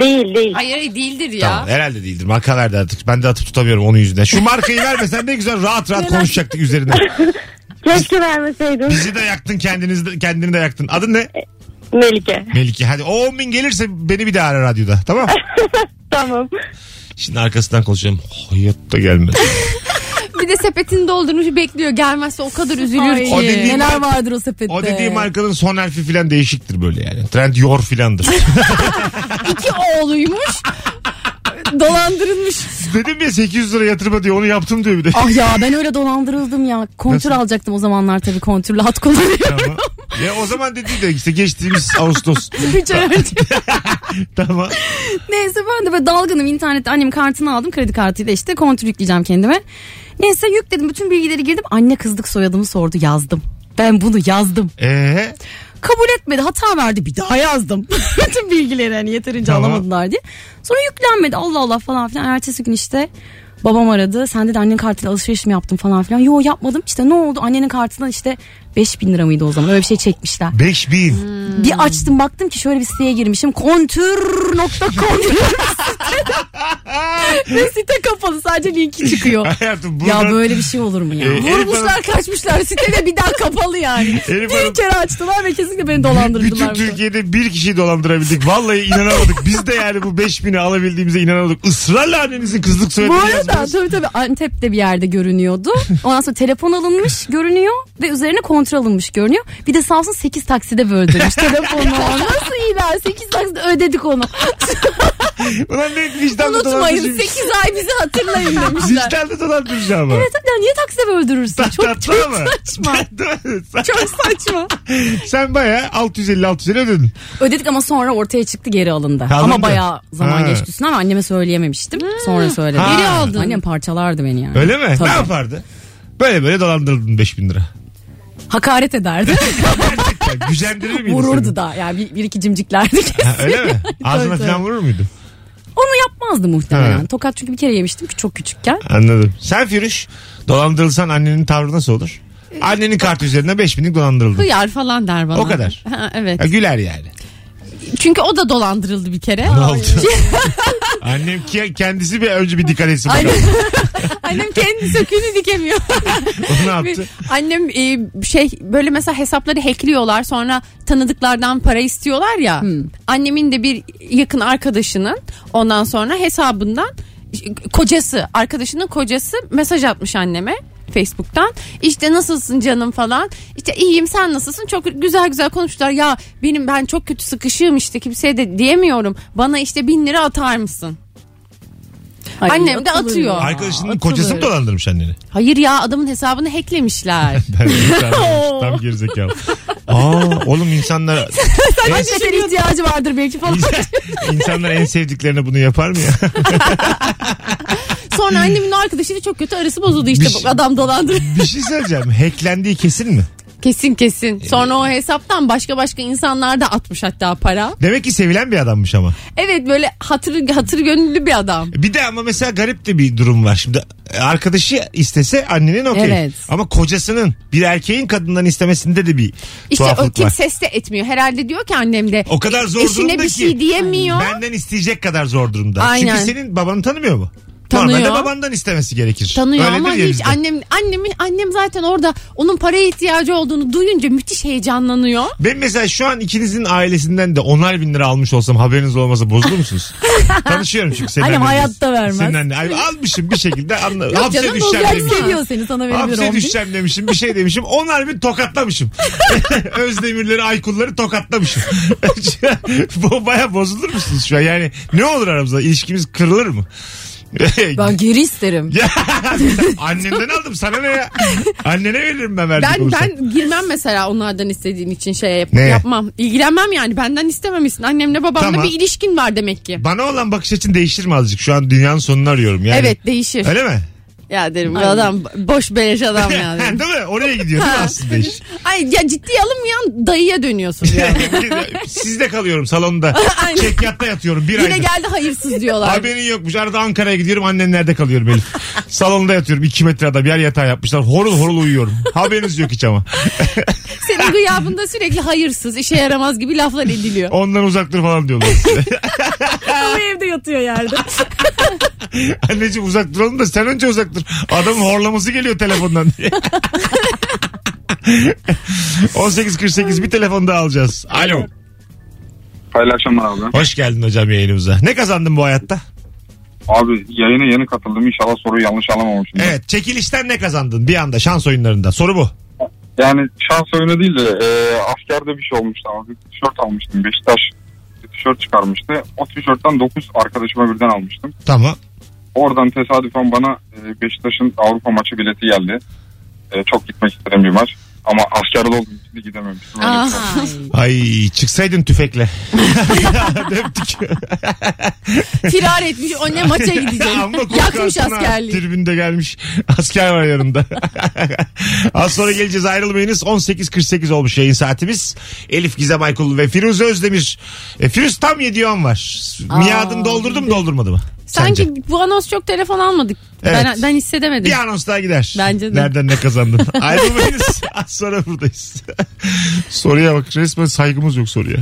Speaker 8: Değil değil.
Speaker 3: Hayır hayır, değildir ya.
Speaker 2: Tamam, herhalde değildir. Marka verdi artık. Ben de atıp tutamıyorum onun yüzünden. Şu markayı vermesen ne güzel rahat rahat konuşacaktık üzerine.
Speaker 8: Keşke vermeseydim.
Speaker 2: Bizi de yaktın kendiniz de, kendini de yaktın. Adın
Speaker 8: E-
Speaker 2: ne?
Speaker 8: Melike.
Speaker 2: Melike. Hadi o 10 bin gelirse beni bir daha ara radyoda. Tamam.
Speaker 8: Tamam.
Speaker 2: Şimdi arkasından konuşacağım. Hayatta gelmez.
Speaker 3: Bir de sepetini doldurmuş bekliyor. Gelmezse o kadar üzülür
Speaker 4: Ay,
Speaker 3: ki.
Speaker 2: O dediğin-
Speaker 4: neler vardır o sepette.
Speaker 2: O dediği markanın son harfi filan değişiktir böyle yani. Trend yor filandır.
Speaker 4: İki oğluymuş. Dolandırılmış.
Speaker 2: Dedim ya 800 lira yatırma diyor onu yaptım diyor bir de.
Speaker 4: Ah ya ben öyle dolandırıldım ya.
Speaker 2: Nasıl?
Speaker 4: Kontür alacaktım o zamanlar tabii kontürlü hat kullanıyorum.
Speaker 2: Tamam. Ya o zaman dedi de işte geçtiğimiz Ağustos.
Speaker 4: Hiç öğrenci-
Speaker 2: tamam.
Speaker 4: şey Neyse ben de böyle dalgınım internette annem kartını aldım kredi kartıyla işte kontür yükleyeceğim kendime. Neyse yükledim bütün bilgileri girdim anne kızlık soyadımı sordu yazdım. Ben bunu yazdım.
Speaker 2: Ee,
Speaker 4: Kabul etmedi hata verdi bir daha yazdım. bütün bilgileri hani yeterince
Speaker 2: Tamam.
Speaker 4: alamadılar diye. Sonra yüklenmedi Allah Allah falan filan. Ertesi gün işte babam aradı. Sen dedi annen kartıyla alışveriş mi yaptın falan filan. Yo yapmadım işte ne oldu annenin kartından işte 5000 lira mıydı o zaman öyle bir şey çekmişler.
Speaker 2: 5000.
Speaker 4: Bir açtım baktım ki şöyle bir siteye girmişim. Kontür.com diye bir site. Ve site kapalı sadece linki çıkıyor.
Speaker 2: Hayatım buradan...
Speaker 4: ya böyle bir şey olur mu ya?
Speaker 2: Ee, Elif
Speaker 4: Vurmuşlar
Speaker 2: Hanım-
Speaker 4: kaçmışlar site ve bir daha kapalı yani.
Speaker 2: Elif Hanım-
Speaker 4: bir kere açtılar ve kesinlikle beni dolandırdılar.
Speaker 2: Bütün
Speaker 4: burada.
Speaker 2: Türkiye'de bir kişiyi dolandırabildik. Vallahi inanamadık. Biz de yani bu 5000'i alabildiğimize inanamadık. Israrla annenizin kızlık
Speaker 4: Bu
Speaker 2: soyadını
Speaker 4: arada
Speaker 2: yazmanız.
Speaker 4: tabii tabii Antep'te bir yerde görünüyordu. Ondan sonra telefon alınmış görünüyor ve üzerine kontrol alınmış görünüyor. Bir de sağ olsun 8 takside böldürmüş telefonu. Nasıl iyi ben 8 takside ödedik onu.
Speaker 2: Ulan ne vicdanlı
Speaker 4: Unutmayın
Speaker 2: dolandırıcı.
Speaker 4: 8 ay bizi hatırlayın demişler.
Speaker 2: Vicdanlı dolandırıcı ama.
Speaker 4: Evet ya niye takside öldürürsün? Çok,
Speaker 2: Tatlı
Speaker 4: çok
Speaker 2: ama.
Speaker 4: saçma.
Speaker 2: Değil mi? Sen-
Speaker 4: çok saçma.
Speaker 2: Sen baya 650-650 ödedin.
Speaker 4: Ödedik ama sonra ortaya çıktı geri alındı.
Speaker 2: Kaldı mı?
Speaker 4: Ama bayağı zaman
Speaker 2: Ha.
Speaker 4: geçti üstüne ama anneme söyleyememiştim. Sonra söyledim.
Speaker 2: Ha. Geri aldın.
Speaker 4: Annem parçalardı beni yani.
Speaker 2: Öyle mi?
Speaker 4: Tabii.
Speaker 2: Ne yapardı? Böyle böyle dolandırıldın 5000 lira.
Speaker 4: Hakaret ederdi.
Speaker 2: Gerçekten gücendirir miydi seni?
Speaker 4: Vururdu da. Yani bir, bir iki cimciklerdi
Speaker 2: Ha, öyle mi? Ağzına
Speaker 4: tabii.
Speaker 2: falan vurur muydu?
Speaker 4: Onu yapmazdı muhtemelen.
Speaker 2: Ha.
Speaker 4: Tokat çünkü bir kere yemiştim ki çok küçükken.
Speaker 2: Anladım. Sen Firuş dolandırılsan annenin tavrı nasıl olur? Annenin kartı üzerine 5000'lik dolandırıldın.
Speaker 3: Duyar falan der bana.
Speaker 2: O kadar.
Speaker 3: Ha, evet.
Speaker 2: Ha, güler yani.
Speaker 3: Çünkü o da dolandırıldı bir kere.
Speaker 2: Ne oldu? Annem ki- kendisi bir önce bir dikkat etsin
Speaker 3: Aynen.
Speaker 2: bakalım.
Speaker 3: Annem kendi söküğünü dikemiyor.
Speaker 2: O ne yaptı?
Speaker 3: Annem e, şey böyle mesela hesapları hackliyorlar sonra tanıdıklardan para istiyorlar ya.
Speaker 4: Hmm.
Speaker 3: Annemin de bir yakın arkadaşının ondan sonra hesabından kocası arkadaşının kocası mesaj atmış anneme. Facebook'tan işte nasılsın canım falan işte iyiyim sen nasılsın çok güzel güzel konuştular ya benim ben çok kötü sıkışığım işte kimseye de diyemiyorum bana işte bin lira atar mısın
Speaker 4: Ay,
Speaker 3: Annem de
Speaker 4: atılır
Speaker 3: atıyor.
Speaker 4: ya.
Speaker 2: Arkadaşının
Speaker 4: Atılır.
Speaker 2: kocası mı dolandırmış anneni?
Speaker 3: hayır ya adamın hesabını hacklemişler
Speaker 2: Ben de tam- tam gerizekalı. Aa oğlum insanlar
Speaker 4: Anne
Speaker 2: şey
Speaker 4: senin ihtiyacı vardır belki falan.
Speaker 2: insanlar en sevdiklerine bunu yapar mı ya?
Speaker 3: Sonra annemin o arkadaşıyla çok kötü arası bozuldu işte
Speaker 2: Bir
Speaker 3: bu
Speaker 2: şey-
Speaker 3: adam dolandı.
Speaker 2: bir şey söyleyeceğim. Hacklendiği kesin mi?
Speaker 3: kesin kesin. Sonra o hesaptan başka başka insanlar da atmış hatta para.
Speaker 2: Demek ki sevilen bir adammış ama.
Speaker 3: Evet böyle hatır hatır gönüllü bir adam.
Speaker 2: Bir de ama mesela garip de bir durum var. Şimdi arkadaşı istese annenin okey.
Speaker 4: Evet.
Speaker 2: Ama kocasının bir erkeğin kadından istemesinde de bir
Speaker 3: İşte o
Speaker 2: tuhaflık
Speaker 3: kim
Speaker 2: var.
Speaker 3: ses de etmiyor. Herhalde diyor ki annem de
Speaker 2: O kadar zor
Speaker 3: eşine
Speaker 2: durumda
Speaker 3: bir
Speaker 2: ki.
Speaker 3: şey diyemiyor.
Speaker 2: Benden isteyecek kadar zor durumda.
Speaker 3: Aynen.
Speaker 2: Çünkü senin babanı tanımıyor mu? Normalde
Speaker 3: Tanıyor.
Speaker 2: babandan istemesi gerekir.
Speaker 3: Tanıyor
Speaker 2: Öyledir
Speaker 3: ama
Speaker 2: ya
Speaker 3: hiç
Speaker 2: bizde.
Speaker 3: annem annemin annem zaten orada onun paraya ihtiyacı olduğunu duyunca müthiş heyecanlanıyor.
Speaker 2: Ben mesela şu an ikinizin ailesinden de onar bin lira almış olsam haberiniz olmazsa bozulur musunuz? Tanışıyorum çünkü senin
Speaker 4: Annem
Speaker 2: annenle.
Speaker 4: hayatta vermez.
Speaker 2: Senin annen. Ay, almışım bir şekilde anla.
Speaker 3: Yok
Speaker 2: hapse
Speaker 3: canım,
Speaker 2: düşeceğim
Speaker 3: bozulmaz.
Speaker 2: demişim.
Speaker 4: Seviyor seni sana verebilir
Speaker 2: Hapse
Speaker 4: on bin.
Speaker 2: düşeceğim demişim bir şey demişim. Onar bin tokatlamışım. Özdemirleri Aykulları tokatlamışım. Bu baya bozulur musunuz şu an? Yani ne olur aramızda ilişkimiz kırılır mı?
Speaker 4: Ben geri isterim.
Speaker 2: Ya, annenden aldım sana ne ya? Annene veririm ben verdik
Speaker 3: Ben ben girmem mesela onlardan istediğim için şey yap-
Speaker 2: Ne?
Speaker 3: yapmam. İlgilenmem yani benden istememişsin. Annemle babamla
Speaker 2: Tamam.
Speaker 3: bir ilişkin var demek ki.
Speaker 2: Bana olan bakış açın değişir mi azıcık? Şu an dünyanın sonunu arıyorum yani.
Speaker 3: Evet değişir.
Speaker 2: Öyle mi?
Speaker 3: Ya derim bu adam boş beleş adam ya derim.
Speaker 2: değil mi? Oraya gidiyor değil mi aslında iş?
Speaker 3: Ay ya ciddiye alınmayan dayıya dönüyorsun yani.
Speaker 2: Sizde kalıyorum salonda.
Speaker 3: Aynen.
Speaker 2: Çekyatta yatıyorum bir
Speaker 3: Yine
Speaker 2: aydır.
Speaker 3: geldi hayırsız diyorlar.
Speaker 2: Haberin yokmuş. Arada Ankara'ya gidiyorum. Annenlerde kalıyorum Elif. Salonda yatıyorum. 2 metre adam yer yatağı yapmışlar. Horul horul uyuyorum. Haberiniz yok hiç ama.
Speaker 3: Senin gıyabında sürekli hayırsız, işe yaramaz gibi laflar ediliyor.
Speaker 2: Ondan uzaktır falan diyorlar. size.
Speaker 4: Ama evde yatıyor yerde.
Speaker 2: Anneciğim uzak duralım da sen önce uzak dur. Adamın horlaması geliyor telefondan diye. 18.48 bir telefon daha alacağız. Alo.
Speaker 9: Hayırlı akşamlar abi.
Speaker 2: Hoş geldin hocam yayınımıza. Ne kazandın bu hayatta?
Speaker 9: Abi yayına yeni katıldım. İnşallah soruyu yanlış alamamışım.
Speaker 2: Evet çekilişten ne kazandın bir anda şans oyunlarında? Soru bu.
Speaker 9: Yani şans oyunu değil de e, askerde bir şey olmuştu abi. Bir tişört almıştım. Beşiktaş bir tişört çıkarmıştı. O tişörtten 9 arkadaşıma birden almıştım.
Speaker 2: Tamam.
Speaker 9: Oradan tesadüfen bana e, Beşiktaş'ın Avrupa maçı bileti geldi. E, çok gitmek istediğim bir maç. Ama askerde olduğum için de gidememiştim. Öyle bir
Speaker 3: Aha.
Speaker 9: şey.
Speaker 2: Ay çıksaydın tüfekle. Döptük.
Speaker 3: Firar etmiş o ne maça gidecek.
Speaker 2: Amma
Speaker 3: Yakmış
Speaker 2: korkarsın ha.
Speaker 3: askerliği.
Speaker 2: Tribünde gelmiş. Asker var yanında. Az sonra geleceğiz ayrılmayınız. 18.48 olmuş yayın saatimiz. Elif Gizem Aykul ve Firuze Özdemir. E, Firuz tam 7 on var. Miadını doldurdum doldurmadı mı?
Speaker 3: Sanki
Speaker 2: Sence?
Speaker 3: bu anons çok telefon almadık.
Speaker 2: Evet.
Speaker 3: Ben, ben hissedemedim.
Speaker 2: Bir anons daha gider.
Speaker 3: Bence de.
Speaker 2: Nereden ne kazandın? Ayrılmayınız. Az sonra buradayız. soruya bak resmen saygımız yok soruya.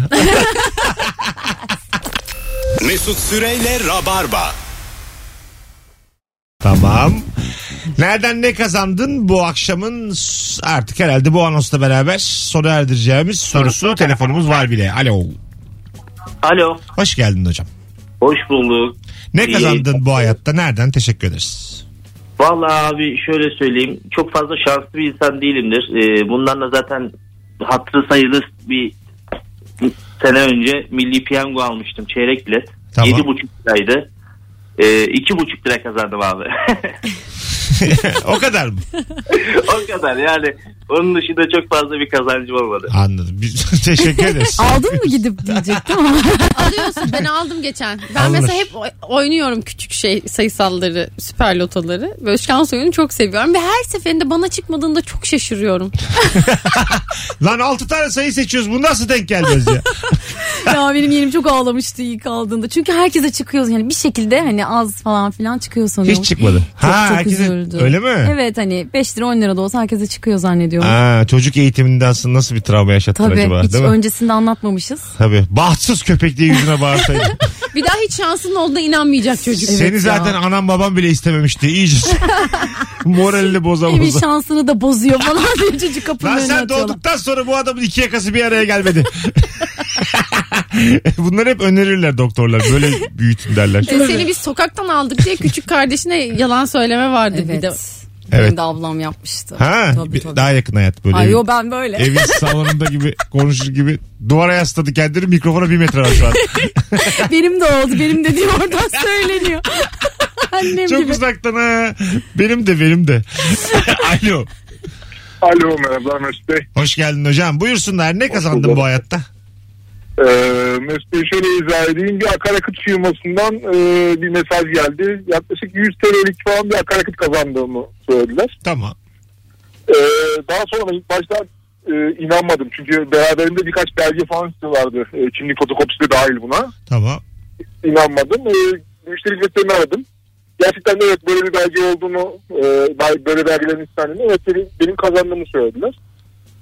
Speaker 1: Mesut Süreyle Rabarba.
Speaker 2: Tamam. Nereden ne kazandın bu akşamın s- artık herhalde bu anonsla beraber sona erdireceğimiz sorusu telefonumuz var bile. Alo.
Speaker 5: Alo.
Speaker 2: Hoş geldin hocam.
Speaker 5: Hoş bulduk.
Speaker 2: Ne
Speaker 5: İyi.
Speaker 2: kazandın bu hayatta? Nereden? Teşekkür ederiz.
Speaker 5: Vallahi abi şöyle söyleyeyim. Çok fazla şanslı bir insan değilimdir. Ee, bundan da zaten hatırı sayılır bir sene önce milli piyango almıştım çeyrek bilet.
Speaker 2: Tamam.
Speaker 5: Yedi buçuk liraydı. Ee, iki buçuk lira kazandım abi.
Speaker 2: o kadar mı?
Speaker 5: o kadar yani. Onun dışında çok fazla bir kazancım olmadı.
Speaker 2: Anladım. Biz- teşekkür ederiz.
Speaker 4: Aldın mı gidip diyecektim ama.
Speaker 3: Alıyorsun ben aldım geçen. Ben
Speaker 2: Alınır.
Speaker 3: mesela hep oy- oynuyorum küçük şey sayısalları, süper lotoları. Böyle şans oyunu çok seviyorum ve her seferinde bana çıkmadığında çok şaşırıyorum.
Speaker 2: Lan 6 tane sayı seçiyoruz. Bu nasıl denk gelmez ya?
Speaker 4: ya benim yeğenim çok ağlamıştı ilk aldığında. Çünkü herkese çıkıyor yani bir şekilde hani az falan filan çıkıyor sanıyorum.
Speaker 2: Hiç çıkmadı.
Speaker 4: Çok
Speaker 2: ha,
Speaker 4: çok
Speaker 2: herkese-
Speaker 4: üzüldü.
Speaker 2: Öyle mi?
Speaker 4: Evet hani 5 lira 10 lira da olsa herkese çıkıyor zannediyorum.
Speaker 2: Ha, çocuk eğitiminde aslında nasıl bir travma yaşattın
Speaker 4: Tabii
Speaker 2: acaba?
Speaker 4: hiç
Speaker 2: değil mi?
Speaker 4: öncesinde anlatmamışız.
Speaker 2: Tabii. Bahtsız köpek diye yüzüne bağırsaydı.
Speaker 3: Bir daha hiç şansın olduğuna inanmayacak çocuk.
Speaker 2: Seni zaten anam babam bile istememişti. İyice moralini boza
Speaker 4: Evin
Speaker 2: boza.
Speaker 4: şansını da bozuyor falan diye çocuk kapının
Speaker 2: Lan
Speaker 4: önüne
Speaker 2: sen
Speaker 4: atıyorlar.
Speaker 2: doğduktan sonra bu adamın iki yakası bir araya gelmedi. Bunlar hep önerirler doktorlar. Böyle büyütün derler.
Speaker 3: E, Seni biz sokaktan aldık diye küçük kardeşine yalan söyleme vardı bir
Speaker 4: Evet.
Speaker 3: de.
Speaker 2: Evet.
Speaker 4: Benim de ablam yapmıştı.
Speaker 2: Ha,
Speaker 4: Tabii,
Speaker 2: bir-
Speaker 4: tabii.
Speaker 2: daha yakın hayat böyle.
Speaker 4: Ay
Speaker 2: evin,
Speaker 4: yo ben böyle.
Speaker 2: evin salonunda gibi konuşur gibi duvara yasladı kendini mikrofona bir metre var şu an.
Speaker 4: benim de oldu. Benim dediğim oradan söyleniyor. Annem
Speaker 2: Çok
Speaker 4: gibi.
Speaker 2: uzaktan ha. Benim de benim de. Alo.
Speaker 9: Alo merhabalar Mesut Bey.
Speaker 2: Hoş geldin hocam. Buyursunlar ne kazandın
Speaker 9: bulduk.
Speaker 2: bu hayatta?
Speaker 9: Ee, Mesut Bey şöyle izah edeyim. Bir akaryakıt firmasından e, bir mesaj geldi. Yaklaşık 100 TL'lik falan bir akaryakıt kazandığımı söylediler.
Speaker 2: Tamam.
Speaker 9: Ee, daha sonra ben ilk başta e, inanmadım. Çünkü beraberinde birkaç belge falan istiyorlardı. E, kimlik fotokopisi de dahil buna.
Speaker 2: Tamam.
Speaker 9: İnanmadım. E, müşteri hizmetlerini aradım. Gerçekten de evet böyle bir belge olduğunu, e, bel- böyle belgelerin istendiğini evet benim, benim kazandığımı söylediler.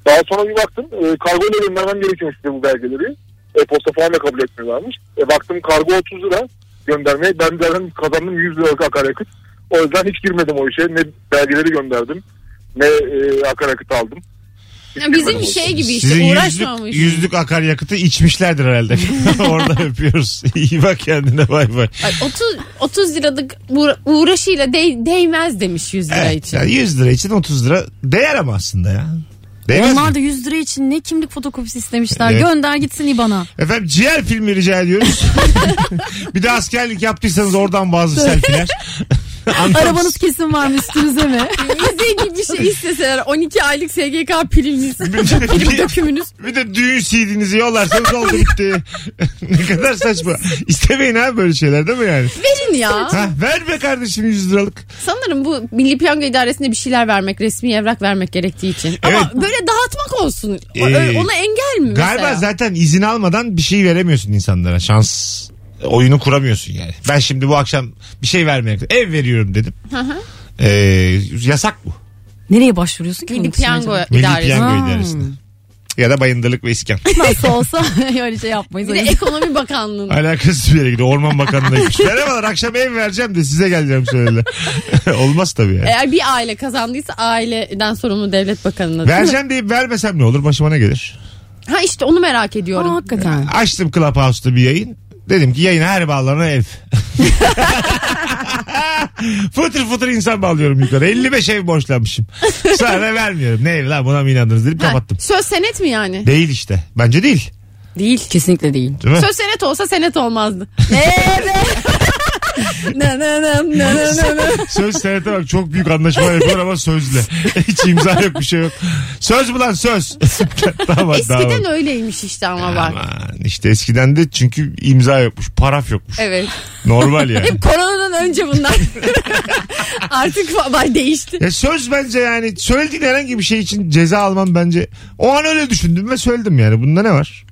Speaker 9: Daha sonra bir baktım e, kargo ile göndermem gerekiyormuş bize bu belgeleri. E, posta falan da kabul etmiyorlarmış. E, baktım kargo 30 lira. göndermeye. Ben zaten kazandım 100 liralık akaryakıt. O yüzden hiç girmedim o işe. Ne belgeleri gönderdim ne e, akaryakıt aldım.
Speaker 3: Ya bizim şey gibi işte
Speaker 2: Sizin yüzlük,
Speaker 3: uğraşmamış.
Speaker 2: yüzlük akaryakıtı içmişlerdir herhalde. Orada öpüyoruz. İyi bak kendine bay bay.
Speaker 3: Ay, 30 30 liralık uğra- uğraşıyla değ- değmez demiş 100 lira
Speaker 2: Evet,
Speaker 3: için.
Speaker 2: yani 100 lira için 30 lira değer ama aslında ya. Değmez mi?
Speaker 4: Onlar da 100 lira için ne kimlik fotokopisi istemişler.
Speaker 2: Evet.
Speaker 4: Gönder gitsin İBAN'a.
Speaker 2: Efendim ciğer filmi rica ediyoruz. bir de askerlik yaptıysanız oradan bazı selfiler. Anlamsız.
Speaker 4: Arabanız kesin var mı üstünüze mi?
Speaker 3: Bize gibi bir şey isteseler 12 aylık SGK priminiz,
Speaker 2: Bir-
Speaker 3: prim
Speaker 2: bir-
Speaker 3: dökümünüz.
Speaker 2: Bir de düğün CD'nizi yollarsanız oldu bitti. ne kadar saçma. İstemeyin abi böyle şeyler değil mi yani?
Speaker 3: Verin ya.
Speaker 2: Ha, ver be kardeşim 100 liralık.
Speaker 3: Sanırım bu Milli Piyango İdaresi'ne bir şeyler vermek, resmi evrak vermek gerektiği için. Ama
Speaker 2: Evet.
Speaker 3: böyle dağıtmak olsun. O-
Speaker 2: Ee,
Speaker 3: Ona engel mi mesela?
Speaker 2: Galiba zaten izin almadan bir şey veremiyorsun insanlara. Şans oyunu kuramıyorsun yani. Ben şimdi bu akşam bir şey vermeye ev veriyorum dedim. Ee, yasak bu.
Speaker 4: Nereye başvuruyorsun ki? bunun
Speaker 3: Milli
Speaker 4: için
Speaker 3: Piyango
Speaker 4: acaba?
Speaker 2: Milli
Speaker 3: İdaresi.
Speaker 2: piyango
Speaker 4: Ha.
Speaker 2: idaresine. Ya da bayındırlık ve iskan.
Speaker 4: Nasıl olsa öyle şey yapmayız.
Speaker 3: Bir de Ekonomi Bakanlığı'nın.
Speaker 2: Alakasız bir yere gidiyor. Orman Bakanlığı'na gitmiş. Merhabalar akşam ev vereceğim de size geleceğim söylediler. Olmaz tabii yani.
Speaker 3: Eğer bir aile kazandıysa aileden sorumlu devlet bakanına. değil mi?
Speaker 2: Vereceğim deyip vermesem ne olur? Başıma ne gelir?
Speaker 3: Ha işte onu merak ediyorum.
Speaker 4: Aa, hakikaten.
Speaker 2: Açtım Clubhouse'da bir yayın. Dedim ki yayına her bağlanan ev. fıtır fıtır insan bağlıyorum yukarı. 55 ev borçlanmışım. Sonra vermiyorum. Ne ev lan buna mı inandınız dedim
Speaker 3: Ha,
Speaker 2: kapattım.
Speaker 3: Söz senet mi yani?
Speaker 2: Değil işte. Bence değil.
Speaker 4: Değil. Kesinlikle değil.
Speaker 2: Değil mi?
Speaker 3: Söz senet olsa senet olmazdı. Evet. na na na na na na na.
Speaker 2: Söz senete bak çok büyük anlaşma yapıyor ama sözle. Hiç imza yok bir şey yok. Söz mü lan söz? tamam,
Speaker 3: Eskiden öyleymiş işte ama bak.
Speaker 2: Aman işte eskiden de çünkü imza yokmuş, paraf yokmuş.
Speaker 3: Evet.
Speaker 2: Normal yani.
Speaker 3: Hep koronadan önce bunlar. Artık fa- değişti.
Speaker 2: Ya söz bence yani söylediğin herhangi bir şey için ceza alman bence. O an öyle düşündüm ve söyledim yani. Bunda ne var?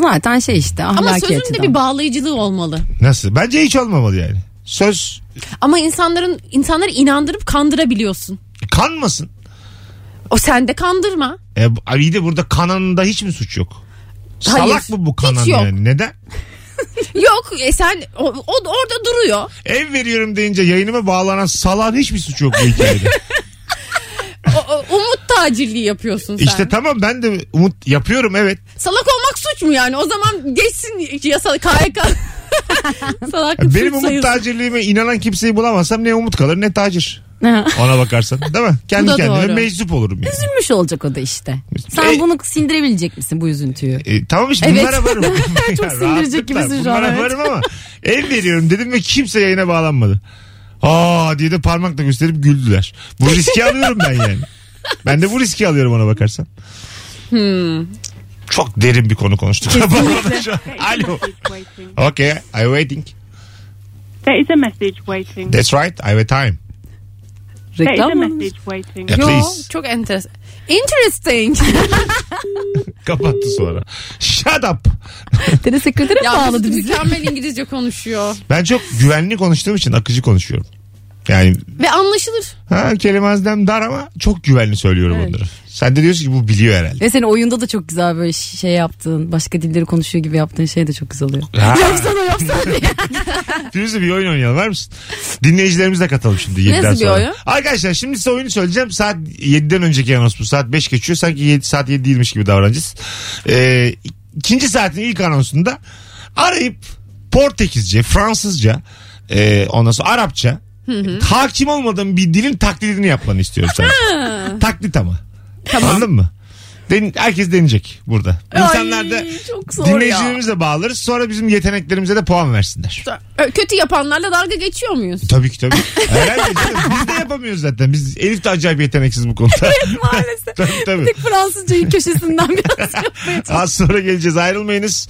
Speaker 4: Zaten şey işte ahlaki
Speaker 3: Ama sözün de
Speaker 4: açıdan.
Speaker 3: bir bağlayıcılığı olmalı.
Speaker 2: Nasıl? Bence hiç olmamalı yani. Söz
Speaker 3: Ama insanların insanları inandırıp kandırabiliyorsun.
Speaker 2: kanmasın.
Speaker 3: O sen de kandırma.
Speaker 2: E, iyi de burada kananda hiç mi suç yok?
Speaker 3: Hayır,
Speaker 2: Salak mı bu kanan
Speaker 3: hiç yok.
Speaker 2: yani? Neden?
Speaker 3: Yok e sen o, o da orada duruyor.
Speaker 2: Ev veriyorum deyince yayınıma bağlanan salağın hiçbir suçu yok bu hikayede.
Speaker 3: O- o- umut tacirliği yapıyorsun sen.
Speaker 2: işte tamam ben de umut yapıyorum evet.
Speaker 3: Salak olmak suç mu yani? O zaman geçsin yasa KYK. Salaklık
Speaker 2: Benim
Speaker 3: suç
Speaker 2: umut
Speaker 3: sayılır.
Speaker 2: tacirliğime inanan kimseyi bulamazsam ne umut kalır ne tacir.
Speaker 4: Ha.
Speaker 2: Ona bakarsan değil mi? Kendi
Speaker 3: da
Speaker 2: kendime
Speaker 3: doğru.
Speaker 2: meczup olurum yani.
Speaker 4: Üzülmüş olacak o da işte. Sen
Speaker 2: E-
Speaker 4: bunu sindirebilecek misin bu üzüntüyü?
Speaker 2: E, tamam işte
Speaker 4: Evet.
Speaker 2: bunlara varım.
Speaker 4: Çok
Speaker 2: Ya,
Speaker 4: sindirecek
Speaker 2: rahatlıkla
Speaker 4: gibisin şu an,
Speaker 2: Bunlara
Speaker 4: evet.
Speaker 2: varım ama el veriyorum dedim ve kimse yayına bağlanmadı. Aa diye de parmakla gösterip güldüler. Bu riski alıyorum ben yani. Ben de bu riski alıyorum ona bakarsan.
Speaker 4: Hmm.
Speaker 2: Çok derin bir konu konuştuk. Şu an. Alo. Okay, I waiting.
Speaker 10: There is a message waiting.
Speaker 2: That's right, I have time.
Speaker 10: There is a
Speaker 4: Reklam mı?
Speaker 10: message waiting.
Speaker 2: Ya,
Speaker 3: Yo,
Speaker 2: please.
Speaker 3: çok enteresan. Interesting.
Speaker 2: Kapattı sonra. Shut up.
Speaker 4: Dede sekreteri
Speaker 3: ya Mesut
Speaker 4: bağladı bizi.
Speaker 3: mükemmel İngilizce konuşuyor.
Speaker 2: Ben çok güvenli konuştuğum için akıcı konuşuyorum. Yani
Speaker 3: Ve anlaşılır.
Speaker 2: ha, kelime hazdem dar ama çok güvenli söylüyorum onları. Sen de diyorsun ki bu biliyor herhalde.
Speaker 4: Ve senin oyunda da çok güzel böyle şey yaptığın, başka dilleri konuşuyor gibi yaptığın şey de çok güzel oluyor.
Speaker 2: Ha.
Speaker 4: Yapsana yapsana diye.
Speaker 2: Firuze bir oyun oynayalım var mısın? Dinleyicilerimiz de katalım şimdi 7'den
Speaker 3: Nasıl bir
Speaker 2: sonra.
Speaker 3: oyun?
Speaker 2: Arkadaşlar şimdi size oyunu söyleyeceğim. Saat 7'den önceki anons bu. Saat 5 geçiyor. Sanki 7, saat 7 değilmiş gibi davranacağız. Ee, ikinci saatin ilk anonsunda arayıp Portekizce, Fransızca, e, ondan sonra Arapça hakim olmadığım bir dilin taklidini yapmanı istiyorum sana. Taklit ama. Anladın mı? Den- herkes deneyecek burada. İnsanlar da
Speaker 4: Ay, çok zor ya.
Speaker 2: dinleyicilerimize bağlarız. Sonra bizim yeteneklerimize de puan versinler.
Speaker 3: Ö- Kötü yapanlarla dalga geçiyor muyuz?
Speaker 2: Tabii ki tabii. Herhalde canım. Biz de yapamıyoruz zaten. Biz Elif de acayip yeteneksiz bu konuda.
Speaker 4: Maalesef.
Speaker 2: tabii tabii.
Speaker 4: Tek Fransızcayı köşesinden biraz.
Speaker 2: Az sonra geleceğiz ayrılmayınız.